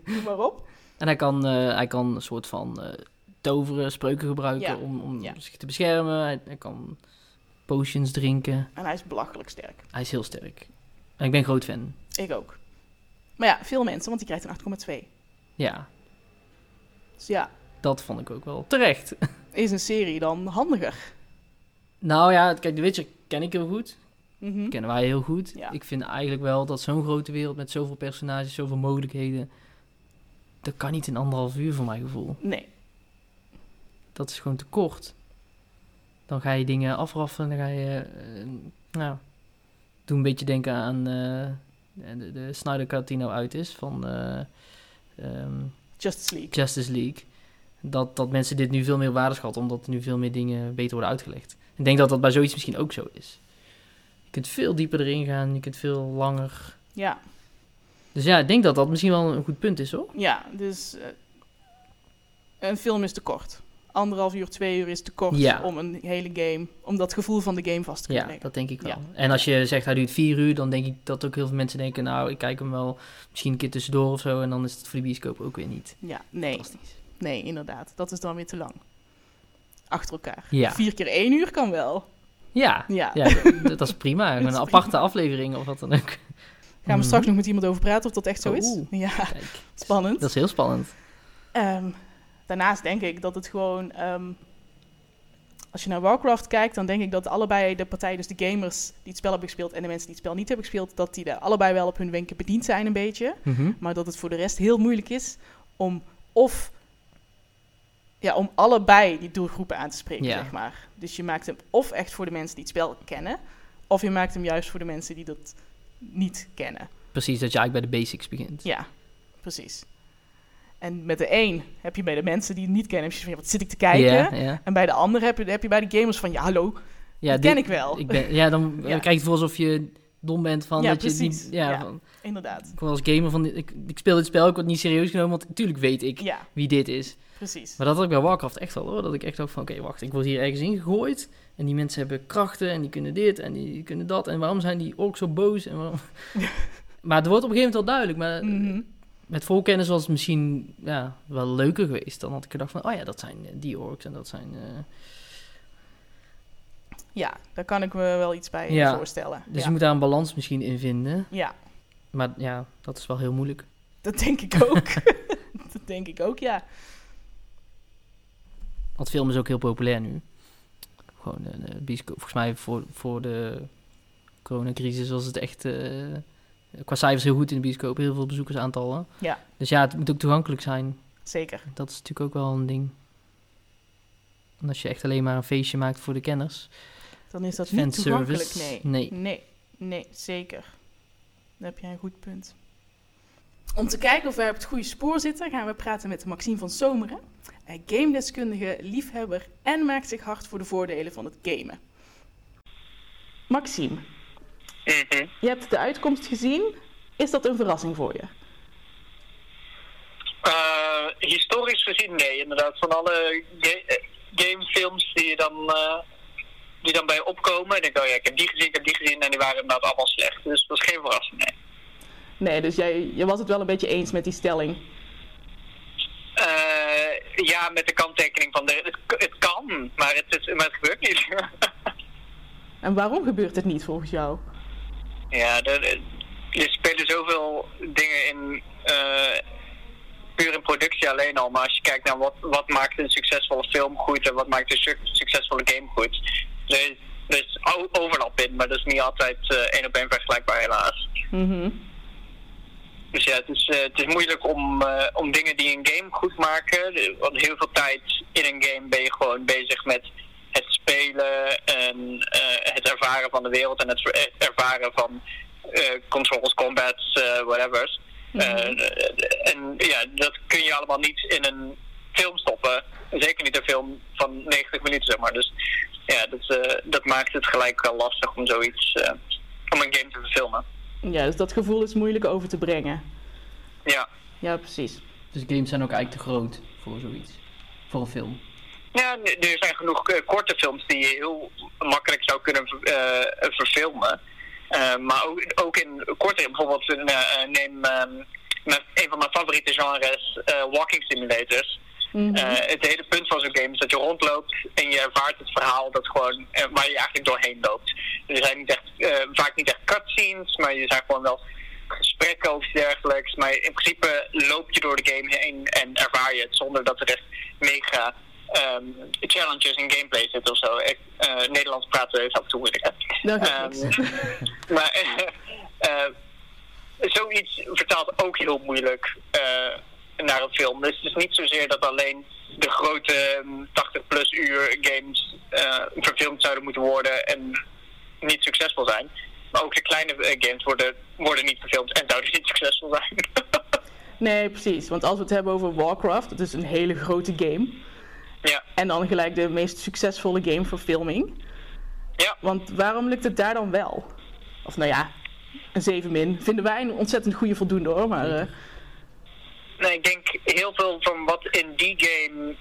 Speaker 1: noem maar op.
Speaker 2: En hij kan, eh, hij kan een soort van eh, toveren, spreuken
Speaker 1: Ja,
Speaker 2: gebruiken om, om
Speaker 1: ja.
Speaker 2: zich te beschermen. Hij, hij kan potions drinken.
Speaker 1: En hij is belachelijk sterk.
Speaker 2: Hij is heel sterk. En ik ben groot fan.
Speaker 1: Ik ook. Maar ja, veel mensen, want die krijgt een 8,2.
Speaker 2: Ja,
Speaker 1: Dus ja,
Speaker 2: dat vond ik ook wel terecht.
Speaker 1: is een serie dan handiger?
Speaker 2: nou ja, kijk, The Witcher ken ik heel goed.
Speaker 1: Mhm.
Speaker 2: Hm? Kennen wij heel goed.
Speaker 1: Ja.
Speaker 2: Ik vind eigenlijk wel dat zo'n grote wereld met zoveel personages, zoveel mogelijkheden... Dat kan niet in anderhalf uur voor mijn gevoel.
Speaker 1: Nee,
Speaker 2: dat is gewoon te kort. Dan ga je dingen afraffen, dan ga je, eh, nou, doe een beetje denken aan eh, de, de Snyder Cut die nou uit is van eh, ehm,
Speaker 1: Justice League.
Speaker 2: Justice League. Dat, dat mensen dit nu veel meer waardeschatten, omdat er nu veel meer dingen beter worden uitgelegd. Ik denk dat dat bij zoiets misschien ook zo is. Je kunt veel dieper erin gaan, je kunt veel langer.
Speaker 1: Ja,
Speaker 2: Dus ja, ik denk dat dat misschien wel een goed punt is hoor.
Speaker 1: ja dus eh, Een film is te kort. Anderhalf uur, twee uur is te kort
Speaker 2: Ja.
Speaker 1: om een hele game, om dat gevoel van de game vast te kunnen
Speaker 2: Ja,
Speaker 1: leggen.
Speaker 2: dat denk ik wel.
Speaker 1: Ja.
Speaker 2: En als je zegt hij duurt vier uur, dan denk ik dat ook heel veel mensen denken... nou, ik kijk hem wel misschien een keer tussendoor of zo... en dan is het voor de bioscoop ook weer niet
Speaker 1: Ja, nee,
Speaker 2: fantastisch.
Speaker 1: nee, inderdaad. Dat is dan weer te lang. Achter elkaar.
Speaker 2: Ja,
Speaker 1: Vier keer één uur kan wel.
Speaker 2: ja.
Speaker 1: Ja.
Speaker 2: ja d- dat is prima. Gewoon
Speaker 1: is
Speaker 2: een
Speaker 1: prima.
Speaker 2: aparte aflevering of wat dan ook.
Speaker 1: Gaan we
Speaker 2: Mhm. Oh,
Speaker 1: straks nog met iemand over praten of dat echt zo is?
Speaker 2: Oeh.
Speaker 1: Ja,
Speaker 2: Kijk,
Speaker 1: spannend.
Speaker 2: dat is heel spannend.
Speaker 1: Ehm, daarnaast denk ik dat het gewoon. ehm, als je naar Warcraft kijkt, dan denk ik dat allebei de partijen, dus de gamers die het spel hebben gespeeld en de mensen die het spel niet hebben gespeeld, dat die daar allebei wel op hun wenken bediend zijn een beetje.
Speaker 2: Mhm.
Speaker 1: Maar dat het voor de rest heel moeilijk is om of. Ja, om allebei die doelgroepen aan te spreken,
Speaker 2: Ja.
Speaker 1: zeg maar. Dus je maakt hem of echt voor de mensen die het spel kennen, of je maakt hem juist voor de mensen die dat niet kennen.
Speaker 2: Precies, dat je eigenlijk bij de basics begint.
Speaker 1: Ja, precies. En met de een heb je bij de mensen die het niet kennen, heb je van, ja, wat zit ik te kijken?
Speaker 2: Ja, ja.
Speaker 1: En bij de ander heb je, heb je bij de gamers van, ja, hallo,
Speaker 2: ja
Speaker 1: dat
Speaker 2: dit-
Speaker 1: ken ik wel.
Speaker 2: Ik ben, ja, dan eh,
Speaker 1: Ja.
Speaker 2: krijg je het voor alsof je dom bent van
Speaker 1: Ja,
Speaker 2: dat je het
Speaker 1: precies.
Speaker 2: niet... Ja,
Speaker 1: Ja.
Speaker 2: Van,
Speaker 1: Inderdaad.
Speaker 2: ik word als gamer van... Ik, ik speel dit spel, ik word niet serieus genomen... want natuurlijk weet ik
Speaker 1: Ja,
Speaker 2: wie dit is.
Speaker 1: precies.
Speaker 2: Maar dat had ik bij Warcraft echt wel hoor. Dat ik echt ook van, oké, wacht, ik word hier ergens ingegooid. En die mensen hebben krachten en die kunnen dit en die kunnen dat. En waarom zijn die ook zo boos? En waarom... maar het wordt op een gegeven moment wel duidelijk. Maar
Speaker 1: Mhm.
Speaker 2: met voorkennis was het misschien ja, wel leuker geweest. Dan had ik gedacht van, oh ja, dat zijn eh, die orks en dat zijn... eh,
Speaker 1: Ja, daar kan ik me wel iets bij eh,
Speaker 2: Ja.
Speaker 1: voorstellen.
Speaker 2: Dus
Speaker 1: ja.
Speaker 2: je moet daar een balans misschien in vinden.
Speaker 1: ja,
Speaker 2: Maar ja, dat is wel heel moeilijk.
Speaker 1: dat denk ik ook. dat denk ik ook, ja.
Speaker 2: Want film is ook heel populair nu. Gewoon eh, de bioscoop. Volgens mij voor, voor de coronacrisis was het echt eh, qua cijfers heel goed in de bioscoop. Heel veel bezoekersaantallen.
Speaker 1: Ja.
Speaker 2: Dus ja, het moet ook toegankelijk zijn.
Speaker 1: Zeker.
Speaker 2: Dat is natuurlijk ook wel een ding. En als je echt alleen maar een feestje maakt voor de kenners.
Speaker 1: Dan is dat niet
Speaker 2: Fanservice.
Speaker 1: toegankelijk, nee.
Speaker 2: Nee.
Speaker 1: Nee, nee, zeker. Daar heb jij een goed punt. Om te kijken of wij op het goede spoor zitten, gaan we praten met Maxime van Zomeren. eh, Gamedeskundige, liefhebber en maakt zich hard voor de voordelen van het gamen. Maxime,
Speaker 3: Mhm.
Speaker 1: je hebt de uitkomst gezien. Is dat een verrassing voor je?
Speaker 3: Eh, historisch gezien, nee, inderdaad. Van alle ga- eh, gamefilms die je dan, eh, die dan bij je opkomen. En ik denk, oh ja, ik heb die gezien, ik heb die gezien. En die waren inderdaad allemaal slecht. Dus dat is geen verrassing, nee.
Speaker 1: Nee, dus jij je was het wel een beetje eens met die stelling.
Speaker 3: Eh, ja, met de kanttekening van de. Het, k- het kan, maar het, is- maar het gebeurt niet.
Speaker 1: En waarom gebeurt het niet volgens jou?
Speaker 3: ja, er, er spelen zoveel dingen in. eh, puur in productie alleen al. Maar als je kijkt naar wat, wat maakt een succesvolle film goed en wat maakt een suc- succesvolle game goed. Er is, er is o- overlap in, maar dat is niet altijd eh, één op één vergelijkbaar helaas.
Speaker 1: Mhm.
Speaker 3: Dus ja, het is, eh, het is moeilijk om, eh, om dingen die een game goed maken. de- Want heel veel tijd in een game ben je gewoon bezig met het spelen en eh, het ervaren van de wereld en het ver- eh, ervaren van eh, controls, combats, eh whatever. Eh, en ja, dat kun je allemaal niet in een film stoppen. Zeker niet een film van 90 minuten, zeg maar. Dus ja, dat, eh, dat maakt het gelijk wel lastig om zoiets, eh, om een game te verfilmen.
Speaker 1: Ja, dus dat gevoel is moeilijk over te brengen.
Speaker 3: Ja.
Speaker 1: Ja, precies.
Speaker 2: Dus games zijn ook eigenlijk te groot voor zoiets. Voor een film.
Speaker 3: Ja, n- er zijn genoeg eh, korte films die je heel makkelijk zou kunnen eh, verfilmen. Eh, maar ook, ook in kortere, bijvoorbeeld eh, eh, neem ehm, mijn- een van mijn favoriete genres, eh, walking simulators.
Speaker 1: Mhm.
Speaker 3: Eh, het hele punt van zo'n game is dat je rondloopt en je ervaart het verhaal dat gewoon, eh, waar je eigenlijk doorheen loopt. Er zijn niet echt, eh, vaak niet echt cutscenes, maar je zijn gewoon wel gesprekken of iets dergelijks. Maar in principe loop je door de game heen en ervaar je het zonder dat er echt mega ehm, challenges in gameplay zitten of zo. Ik, eh, Nederlands praten is af en toe moeilijk. Hè?
Speaker 1: Dat gaat
Speaker 3: Ehm,
Speaker 1: niks.
Speaker 3: maar eh, eh, zoiets vertaalt ook heel moeilijk eh, naar een film. Dus het is niet zozeer dat alleen de grote 80-plus uur games eh, verfilmd zouden moeten worden en niet succesvol zijn. Maar ook de kleine eh, games worden, worden niet verfilmd en zouden niet succesvol zijn.
Speaker 1: Nee, precies. Want als we het hebben over Warcraft, dat is een hele grote game.
Speaker 3: ja.
Speaker 1: En dan gelijk de meest succesvolle gameverfilming.
Speaker 3: ja,
Speaker 1: Want waarom lukt het daar dan wel? Of nou ja, een 7 min. Vinden wij een ontzettend goede voldoende hoor. Maar eh,
Speaker 3: nee, ik denk heel veel van wat in die game.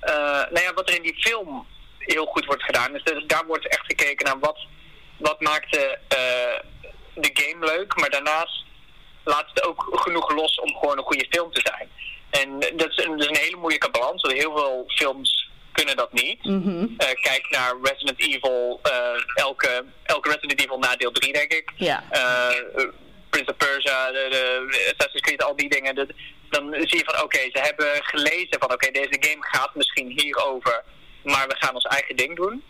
Speaker 3: eh, nou ja, wat er in die film heel goed wordt gedaan. Dus dat- daar wordt echt gekeken naar wat, wat maakte eh, de game leuk. Maar daarnaast laat het ook genoeg los om gewoon een goede film te zijn. En dat is een, dat is een hele moeilijke balans. Want heel veel films kunnen dat niet. Eh, kijk naar Resident Evil. eh, elke, elke Resident Evil na deel 3, denk ik.
Speaker 1: Ja.
Speaker 3: Eh, Prince of Persia, de, de Assassin's Creed, al die dingen. Dat- dan zie je van oké, ze hebben gelezen van oké, deze game gaat misschien hierover. Maar we gaan ons eigen ding doen.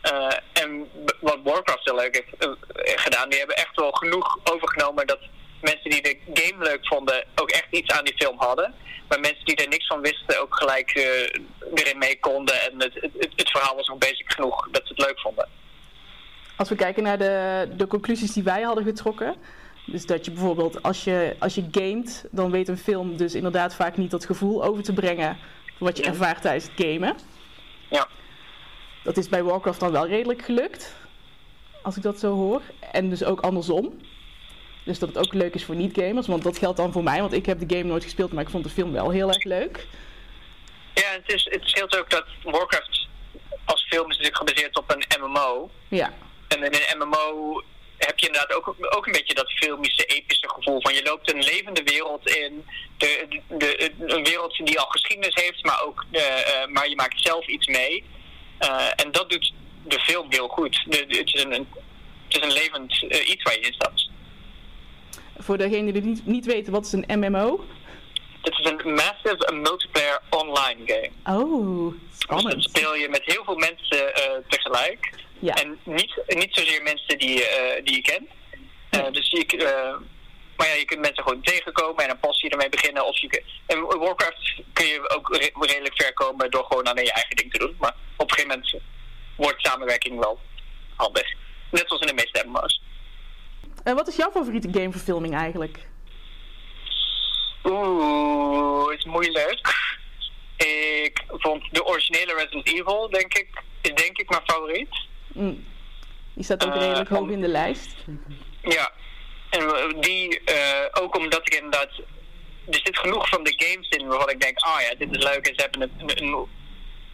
Speaker 3: Eh, en b- wat Warcraft heel leuk heeft eh, gedaan, die hebben echt wel genoeg overgenomen dat mensen die de game leuk vonden ook echt iets aan die film hadden. Maar mensen die er niks van wisten ook gelijk eh, erin mee konden. En het, het, het verhaal was nog basic genoeg dat ze het leuk vonden.
Speaker 1: Als we kijken naar de, de conclusies die wij hadden getrokken. Dus dat je bijvoorbeeld als je, als je gamet, dan weet een film dus inderdaad vaak niet dat gevoel over te brengen. wat je
Speaker 3: Ja.
Speaker 1: ervaart tijdens het gamen.
Speaker 3: Ja.
Speaker 1: Dat is bij Warcraft dan wel redelijk gelukt. Als ik dat zo hoor. En dus ook andersom. Dus dat het ook leuk is voor niet-gamers. Want dat geldt dan voor mij. Want ik heb de game nooit gespeeld. Maar ik vond de film wel heel erg leuk.
Speaker 3: Ja, het, is, het scheelt ook dat Warcraft als film is natuurlijk gebaseerd op een MMO.
Speaker 1: Ja.
Speaker 3: En in een MMO heb je inderdaad ook, ook een beetje dat filmische, epische gevoel van je loopt een levende wereld in. De, de, de- een wereld die al geschiedenis heeft, maar, ook, eh, eh, maar je maakt zelf iets mee. Eh, en dat doet de film heel goed. De, de- het, is een, een- het is een levend eh, iets waar je in stapt.
Speaker 1: Voor degenen die niet, niet weten wat is een MMO.
Speaker 3: Het is een massive multiplayer online game.
Speaker 1: Oh,
Speaker 3: Dus dan
Speaker 1: spannend.
Speaker 3: speel je met heel veel mensen eh, tegelijk.
Speaker 1: Ja.
Speaker 3: En niet, niet zozeer mensen die, eh, die je kent. Eh,
Speaker 1: Nee.
Speaker 3: dus je, k- eh, maar ja, je kunt mensen gewoon tegenkomen en een passie ermee beginnen. Of je, kun- en in Warcraft kun je ook re- redelijk ver komen door gewoon alleen je eigen ding te doen. Maar op een gegeven moment wordt samenwerking wel handig. Net zoals in de meeste MMO's.
Speaker 1: En wat is jouw favoriete gameverfilming eigenlijk?
Speaker 3: Oeh, is moeilijk. Ik vond de originele Resident Evil, denk ik, is denk ik mijn favoriet.
Speaker 1: Mm. Die staat ook
Speaker 3: Eh,
Speaker 1: redelijk hoog
Speaker 3: om-
Speaker 1: in de lijst.
Speaker 3: Ja, en eh, die eh, ook omdat ik inderdaad. Er zit genoeg van de games in waarvan ik denk: ah ja, dit is leuk en ze hebben een, een,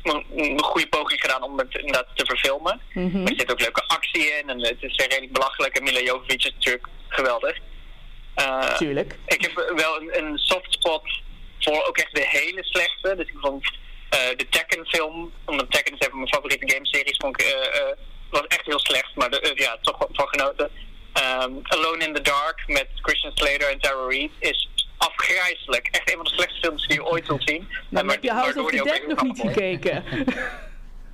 Speaker 3: een, een goede poging gedaan om het inderdaad te verfilmen.
Speaker 1: Mhm.
Speaker 3: Maar er zit ook leuke actie in en het is redelijk belachelijk. En Mila Jovovich is natuurlijk geweldig. Eh,
Speaker 1: Tuurlijk.
Speaker 3: ik heb wel een, een soft spot voor ook echt de hele slechte. Dus ik vond eh, de Tekken-film, omdat Tekken is een van mijn favoriete gameseries, vond ik, eh, eh, was echt heel slecht, maar de, eh, ja, toch wel van genoten. Ehm, Alone in the Dark met Christian Slater en Tara Reid is afgrijzelijk. Echt een van de slechtste films die je ooit zult zien.
Speaker 1: Dan heb je House of the
Speaker 3: ook
Speaker 1: Dead
Speaker 3: heel
Speaker 1: nog niet
Speaker 3: grappig wordt.
Speaker 1: gekeken.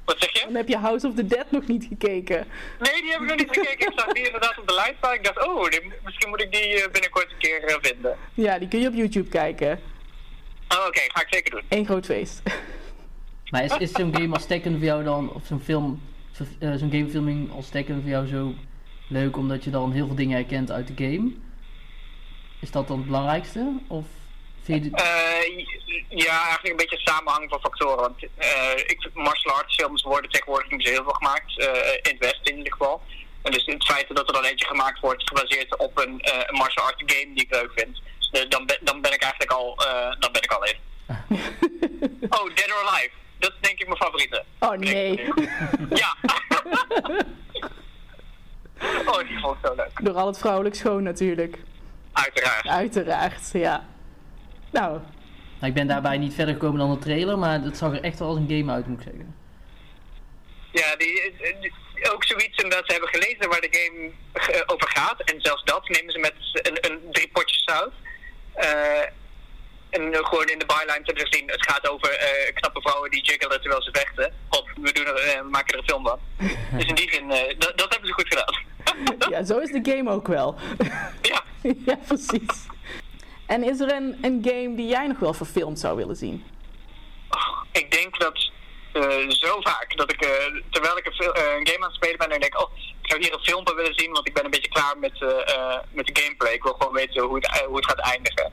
Speaker 3: Wat zeg je?
Speaker 1: Dan heb je House of the Dead nog niet gekeken.
Speaker 3: Nee, die heb ik nog niet gekeken. Ik zag die inderdaad op de lijst staan. Ik dacht, oh, die- misschien moet ik die eh, binnenkort een keer eh, vinden.
Speaker 1: Ja, die kun je op YouTube kijken.
Speaker 3: Oh, Oké, ga ik zeker doen.
Speaker 1: Eén groot feest.
Speaker 2: Maar is, is zo'n game als Tekken voor jou dan, of zo'n film, zo, eh, zo'n gamefilming als Tekken voor jou zo leuk omdat je dan heel veel dingen herkent uit de game? Is dat dan het belangrijkste? Of vind je dit-
Speaker 3: Eh, j- ja, eigenlijk een beetje een samenhang van factoren. Want eh, ik, vind martial arts films worden tegenwoordig niet zo heel veel gemaakt. eh, in het Westen in ieder geval. En dus het feit dat er dan eentje gemaakt wordt gebaseerd op een, eh, een martial arts game die ik leuk vind. eh, dan, ben, dan ben ik eigenlijk al, eh, dan ben ik al in. oh, Dead or Alive. Dat is denk ik mijn favoriete.
Speaker 1: Oh nee.
Speaker 3: Ja. oh, die vond ik zo leuk.
Speaker 1: Door al het vrouwelijk schoon natuurlijk.
Speaker 3: Uiteraard.
Speaker 1: Uiteraard, ja. Nou,
Speaker 2: Nou, ik ben daarbij niet verder gekomen dan de trailer, maar dat zag er echt wel als een game uit, moet ik zeggen.
Speaker 3: Ja, die, eh, die- ook zoiets omdat ze hebben gelezen waar de game eh, over gaat. En zelfs dat nemen ze met een, een drie potjes zout. Eh, en eh, gewoon in de byline hebben ze gezien, het gaat over eh, knappe vrouwen die jiggelen terwijl ze vechten. Of we doen er, eh, maken er een film van. dus in die zin, eh, dat, dat hebben ze goed gedaan.
Speaker 1: ja, zo is de game ook wel.
Speaker 3: ja.
Speaker 1: ja, precies. En is er een, een game die jij nog wel verfilmd zou willen zien?
Speaker 3: Och, ik denk dat eh, zo vaak dat ik, eh, terwijl ik een, fil- eh, een game aan het spelen ben, en denk ik, oh, ik zou hier een filmpje willen zien, want ik ben een beetje klaar met, eh, eh, met de gameplay. Ik wil gewoon weten hoe het, eh, hoe het gaat eindigen.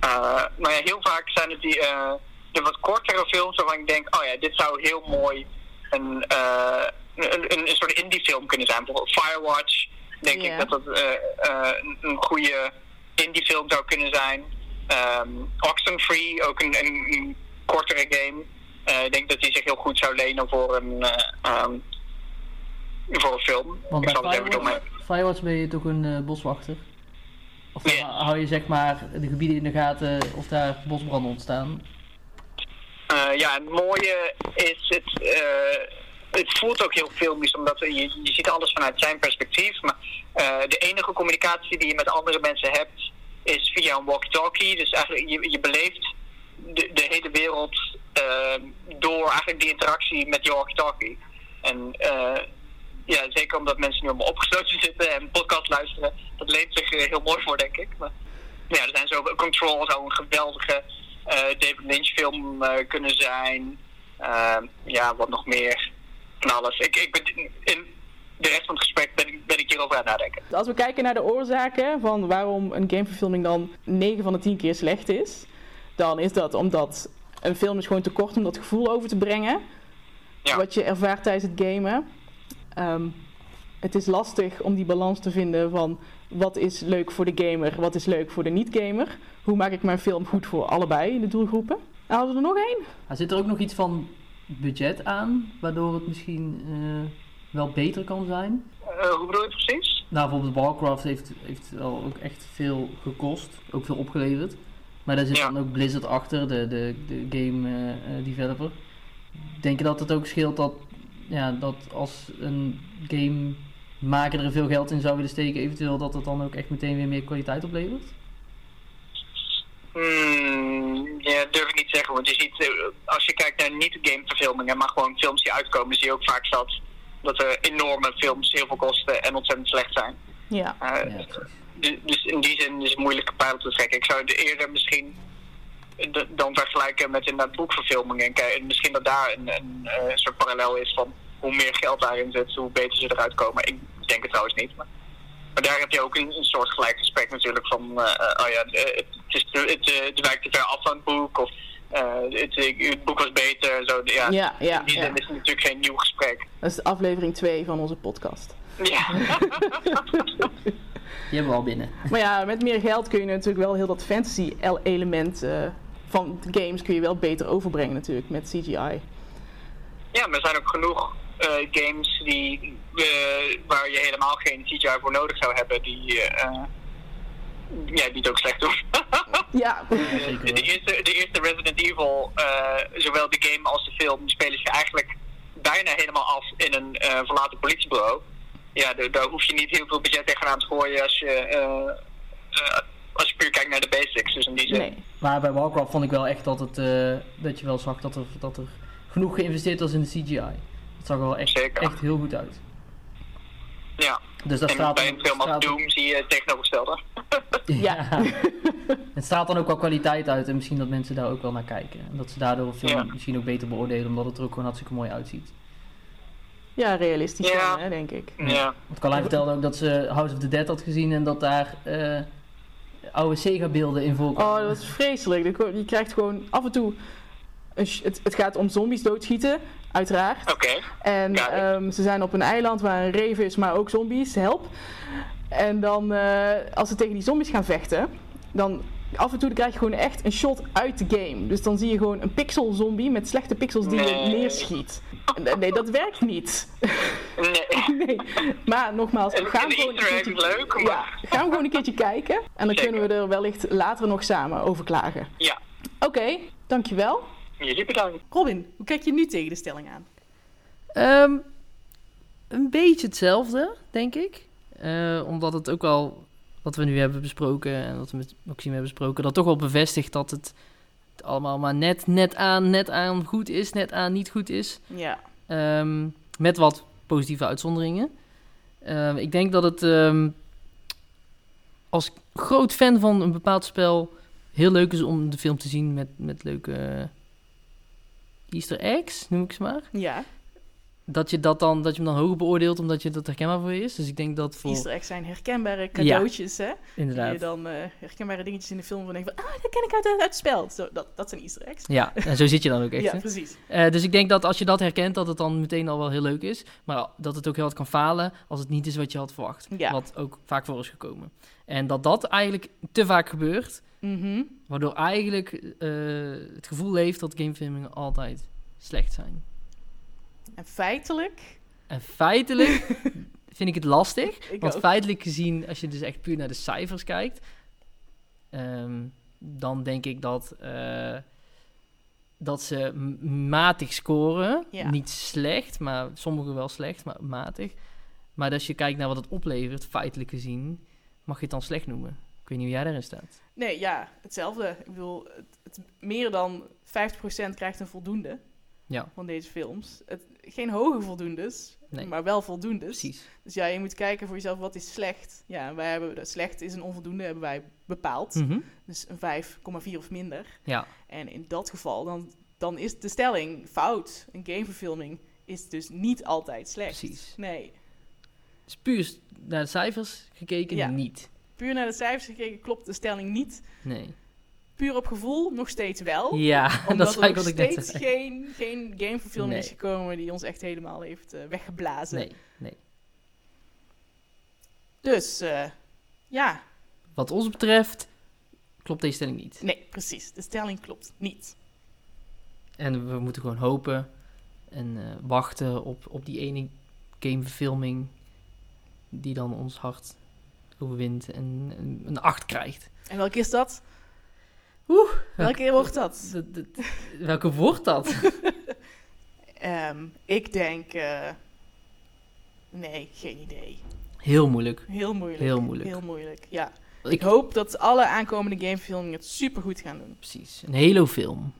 Speaker 3: Eh, maar ja, heel vaak zijn het die eh, de wat kortere films waarvan ik denk, oh ja, dit zou heel mooi een, eh, een, een, een soort indie film kunnen zijn. Bijvoorbeeld Firewatch, denk
Speaker 1: Ja.
Speaker 3: ik dat dat eh, eh, een- een goede indie film zou kunnen zijn. Oxen Oxenfree, ook een, een, een kortere game. Eh, ik denk dat die zich heel goed zou lenen voor een, eh, ehm, voor een film.
Speaker 2: Want bij
Speaker 3: ik snap het even door
Speaker 2: Firewatch,
Speaker 3: mijn...
Speaker 2: Firewatch ben je toch een eh, boswachter? Of
Speaker 3: Ja.
Speaker 2: hou je zeg maar de gebieden in de gaten of daar bosbranden ontstaan?
Speaker 3: Eh, ja, het mooie is, het, eh, het voelt ook heel filmisch, omdat je, je ziet alles vanuit zijn perspectief. Maar eh, de enige communicatie die je met andere mensen hebt, is via een walkie-talkie. Dus eigenlijk, je, je beleeft de, de hele wereld eh, door eigenlijk die interactie met die walkie-talkie. En eh, ja, zeker omdat mensen nu allemaal opgesloten zitten en podcast luisteren, dat leent zich eh, heel mooi voor, denk ik. Maar, ja, er zijn zo Control zou een geweldige eh, David Lynch film eh, kunnen zijn. Eh, ja, wat nog meer. Van alles. Ik, ik ben, in de rest van het gesprek ben ik, ben ik hierover aan het nadenken.
Speaker 1: Als we kijken naar de oorzaken van waarom een gameverfilming dan 9 van de 10 keer slecht is, dan is dat omdat een film is gewoon te kort om dat gevoel over te brengen.
Speaker 3: Ja.
Speaker 1: Wat je ervaart tijdens het gamen. Ehm, het is lastig om die balans te vinden van wat is leuk voor de gamer, wat is leuk voor de niet-gamer. Hoe maak ik mijn film goed voor allebei de doelgroepen? En hadden we er nog één?
Speaker 2: Maar zit er ook nog iets van budget aan, waardoor het misschien eh, wel beter kan zijn?
Speaker 3: Eh, hoe bedoel je precies?
Speaker 2: Nou, bijvoorbeeld Warcraft heeft, heeft wel ook echt veel gekost, ook veel opgeleverd. Maar daar zit
Speaker 3: Ja.
Speaker 2: dan ook Blizzard achter, de, de, de game eh, eh, developer. Denk je dat het ook scheelt dat, ja, dat als een gamemaker er veel geld in zou willen steken, eventueel dat het dan ook echt meteen weer meer kwaliteit oplevert?
Speaker 3: Hmm, ja, durf ik niet te zeggen. Want je ziet, eh, als je kijkt naar niet-gameverfilmingen, maar gewoon films die uitkomen, zie je ook vaak dat, dat er enorme films heel veel kosten en ontzettend slecht zijn.
Speaker 1: Ja.
Speaker 3: Eh,
Speaker 2: Ja, precies.
Speaker 3: Du- Dus in die zin is het moeilijk een pijl te trekken. Ik zou het eerder misschien d- dan vergelijken met inderdaad boekverfilmingen. En kijken- misschien dat daar een, een eh, soort parallel is van hoe meer geld daarin zit, hoe beter ze eruit komen. Ik denk het trouwens niet. Maar, maar daar heb je ook een, een soort gelijk gesprek natuurlijk van, eh, eh, oh ja, eh, het, is te- het, eh, het wijkt te ver af van het boek of eh, het, eh, het boek was beter. en Zo, ja.
Speaker 1: Ja, ja,
Speaker 3: in die zin
Speaker 1: ja.
Speaker 3: is het natuurlijk geen nieuw gesprek.
Speaker 1: Dat is aflevering 2 van onze podcast.
Speaker 3: Ja.
Speaker 2: Die hebben we al binnen.
Speaker 1: Maar ja, met meer geld kun je natuurlijk wel heel dat fantasy el- element eh, van de games kun je wel beter overbrengen natuurlijk met CGI.
Speaker 3: Ja, maar er zijn ook genoeg eh, games die, eh, waar je helemaal geen CGI voor nodig zou hebben, die, eh, eh, ja, die het ook slecht doen.
Speaker 1: Ja,
Speaker 2: Zeker
Speaker 3: de,
Speaker 2: wel.
Speaker 3: eerste, de eerste Resident Evil, eh, zowel de game als de film, die spelen zich eigenlijk bijna helemaal af in een eh, verlaten politiebureau. Ja, daar- daar hoef je niet heel veel budget tegenaan te gooien als je, eh, eh, als je puur kijkt naar de basics. Dus in die zin.
Speaker 1: nee.
Speaker 2: Maar bij Warcraft vond ik wel echt dat, het, eh, dat je wel zag dat er, dat er genoeg geïnvesteerd was in de CGI. Dat zag er wel echt,
Speaker 3: Zeker.
Speaker 2: echt heel goed uit.
Speaker 3: Ja.
Speaker 2: Dus dat
Speaker 3: En
Speaker 2: staat
Speaker 3: bij een film als
Speaker 2: staat-
Speaker 3: Doom zie je het tegenovergestelde.
Speaker 2: Ja. het straalt dan ook wel kwaliteit uit en misschien dat mensen daar ook wel naar kijken. En dat ze daardoor een film
Speaker 3: Ja.
Speaker 2: misschien ook beter beoordelen, omdat het er ook gewoon hartstikke mooi uitziet.
Speaker 1: Ja, realistisch
Speaker 3: Ja.
Speaker 1: dan, hè, denk ik.
Speaker 2: Mm.
Speaker 3: ja.
Speaker 2: Want Carlijn vertelde ook dat ze House of the Dead had gezien en dat daar eh, oude Sega-beelden in
Speaker 1: Oh,
Speaker 2: voorkwamen.
Speaker 1: dat is vreselijk. Je ko- Je krijgt gewoon af en toe... een sh- Het, het gaat om zombies doodschieten, uiteraard.
Speaker 3: Oké.
Speaker 1: En
Speaker 3: Ja, ik-
Speaker 1: ehm, ze zijn op een eiland waar een reef is, maar ook zombies, help. En dan, eh, als ze tegen die zombies gaan vechten, dan af en toe krijg je gewoon echt een shot uit de game. Dus dan zie je gewoon een pixel zombie met slechte pixels die je
Speaker 3: Nee.
Speaker 1: neerschiet. En- Nee, dat werkt niet.
Speaker 3: Nee.
Speaker 1: Nee, maar nogmaals,
Speaker 3: En-
Speaker 1: gaan
Speaker 3: en
Speaker 1: we
Speaker 3: de
Speaker 1: gewoon een
Speaker 3: easter egg
Speaker 1: keertje...
Speaker 3: is leuk, maar-
Speaker 1: Ja, gaan we gewoon een keertje kijken. En dan
Speaker 3: Zeker.
Speaker 1: kunnen we er wellicht later nog samen over klagen.
Speaker 3: Ja.
Speaker 1: Oké, dankjewel.
Speaker 3: Jullie bedankt.
Speaker 1: Robin, hoe kijk je nu tegen de stelling aan?
Speaker 2: Ehm, een beetje hetzelfde, denk ik. Eh, omdat het ook wel, wat we nu hebben besproken en wat we met Maxime hebben besproken, dat toch wel bevestigt dat het allemaal maar net, net aan, net aan goed is, net aan niet goed is.
Speaker 1: Ja,
Speaker 2: Ehm, met wat positieve uitzonderingen. Ehm, ik denk dat het ehm, als groot fan van een bepaald spel heel leuk is om de film te zien met, met leuke Easter eggs, noem ik ze maar.
Speaker 1: ja.
Speaker 2: dat je, dat dan, dat je hem dan hoger beoordeelt omdat je dat herkenbaar voor je is. Dus ik denk dat voor...
Speaker 1: Easter eggs zijn herkenbare cadeautjes, hè? Die je
Speaker 2: Inderdaad.
Speaker 1: dan eh, herkenbare dingetjes in de film van denkt van... Ah, dat ken ik uit, uit het spel. Zo, dat, dat zijn Easter eggs.
Speaker 2: Ja, en zo zit je dan ook echt.
Speaker 1: ja,
Speaker 2: hè?
Speaker 1: precies.
Speaker 2: Eh, dus ik denk dat als je dat herkent, dat het dan meteen al wel heel leuk is. Maar dat het ook heel hard kan falen als het niet is wat je had verwacht.
Speaker 1: Ja.
Speaker 2: Wat ook vaak voor is gekomen. En dat dat eigenlijk te vaak gebeurt.
Speaker 1: Mhm.
Speaker 2: Waardoor eigenlijk eh, het gevoel leeft dat gamefilmingen altijd slecht zijn.
Speaker 1: En feitelijk...
Speaker 2: En feitelijk vind ik het lastig.
Speaker 1: Ik
Speaker 2: Want
Speaker 1: ook.
Speaker 2: feitelijk gezien, als je dus echt puur naar de cijfers kijkt, ehm, dan denk ik dat, eh, dat ze m- matig scoren.
Speaker 1: Ja.
Speaker 2: Niet slecht, maar sommigen wel slecht, maar matig. Maar als je kijkt naar wat het oplevert, feitelijk gezien, mag je het dan slecht noemen. Ik weet niet hoe jij daarin staat.
Speaker 1: Nee, ja, hetzelfde. Ik bedoel, het, het- meer dan 50% krijgt een voldoende
Speaker 2: Ja.
Speaker 1: van deze films. Het, geen hoge voldoendes,
Speaker 2: Nee.
Speaker 1: maar wel voldoendes.
Speaker 2: Precies.
Speaker 1: Dus ja, je moet kijken voor jezelf, wat is slecht? Ja, en wij hebben, dat slecht is een onvoldoende, hebben wij bepaald.
Speaker 2: Mhm.
Speaker 1: Dus een 5,4 of minder.
Speaker 2: Ja,
Speaker 1: En in dat geval, dan, dan is de stelling fout. Een gameverfilming is dus niet altijd slecht.
Speaker 2: precies.
Speaker 1: Nee,
Speaker 2: Dus puur s- naar de cijfers gekeken,
Speaker 1: Ja.
Speaker 2: niet.
Speaker 1: puur naar de cijfers gekeken klopt de stelling niet.
Speaker 2: Nee.
Speaker 1: Puur op gevoel nog steeds wel.
Speaker 2: Ja, dat
Speaker 1: Oh, Omdat
Speaker 2: is
Speaker 1: er
Speaker 2: eigenlijk
Speaker 1: nog
Speaker 2: wat ik net
Speaker 1: steeds
Speaker 2: zei.
Speaker 1: geen, geen gameverfilming is
Speaker 2: Nee.
Speaker 1: gekomen die ons echt helemaal heeft eh, weggeblazen.
Speaker 2: Nee, nee.
Speaker 1: Dus eh, ja,
Speaker 2: Wat ons betreft klopt deze stelling niet.
Speaker 1: nee, precies. De stelling klopt niet.
Speaker 2: En we moeten gewoon hopen en eh, wachten op, op die ene gameverfilming die dan ons hart overwint en een- een 8 krijgt.
Speaker 1: En welke is dat?
Speaker 2: Oeh,
Speaker 1: Welke keer wordt dat?
Speaker 2: Dat- dat- welke wordt dat?
Speaker 1: Ehm, ik denk. eh, nee, geen idee.
Speaker 2: Heel moeilijk.
Speaker 1: Heel moeilijk.
Speaker 2: Heel moeilijk.
Speaker 1: Heel moeilijk, ja. Ik
Speaker 2: Ik,
Speaker 1: hoop dat alle aankomende gameverfilmingen het supergoed gaan doen.
Speaker 2: precies. Een Halo-film.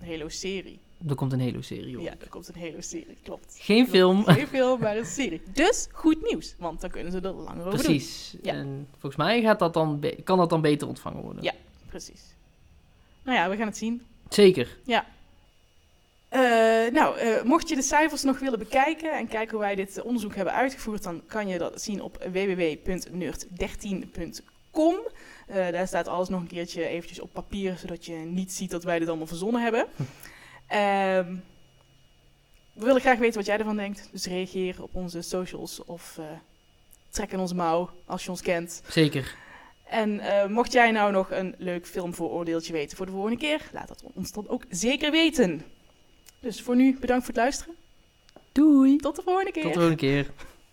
Speaker 1: Een Halo-serie.
Speaker 2: Er komt een Halo-serie op.
Speaker 1: Ja, er komt een Halo-serie, klopt.
Speaker 2: Geen film.
Speaker 1: Geen film, maar een serie. Dus goed nieuws, want dan kunnen ze er langer over doen.
Speaker 2: Precies.
Speaker 1: Ja.
Speaker 2: En volgens mij gaat dat dan be- kan dat dan beter ontvangen worden.
Speaker 1: Ja. Precies. Nou ja, we gaan het zien.
Speaker 2: Zeker.
Speaker 1: Eh, nou, eh, mocht je de cijfers nog willen bekijken en kijken hoe wij dit eh, onderzoek hebben uitgevoerd, dan kan je dat zien op www.nerd13.com. Eh, daar staat alles nog een keertje eventjes op papier, zodat je niet ziet dat wij dit allemaal verzonnen hebben. Ehm, we willen graag weten wat jij ervan denkt, dus reageer op onze socials of eh, trek in ons mouw als je ons kent.
Speaker 2: Zeker.
Speaker 1: En eh, mocht jij nou nog een leuk filmvooroordeeltje weten voor de volgende keer, laat dat ons dan ook zeker weten. Dus voor nu bedankt voor het luisteren.
Speaker 2: Doei.
Speaker 1: Tot de volgende keer.
Speaker 2: Tot de volgende keer.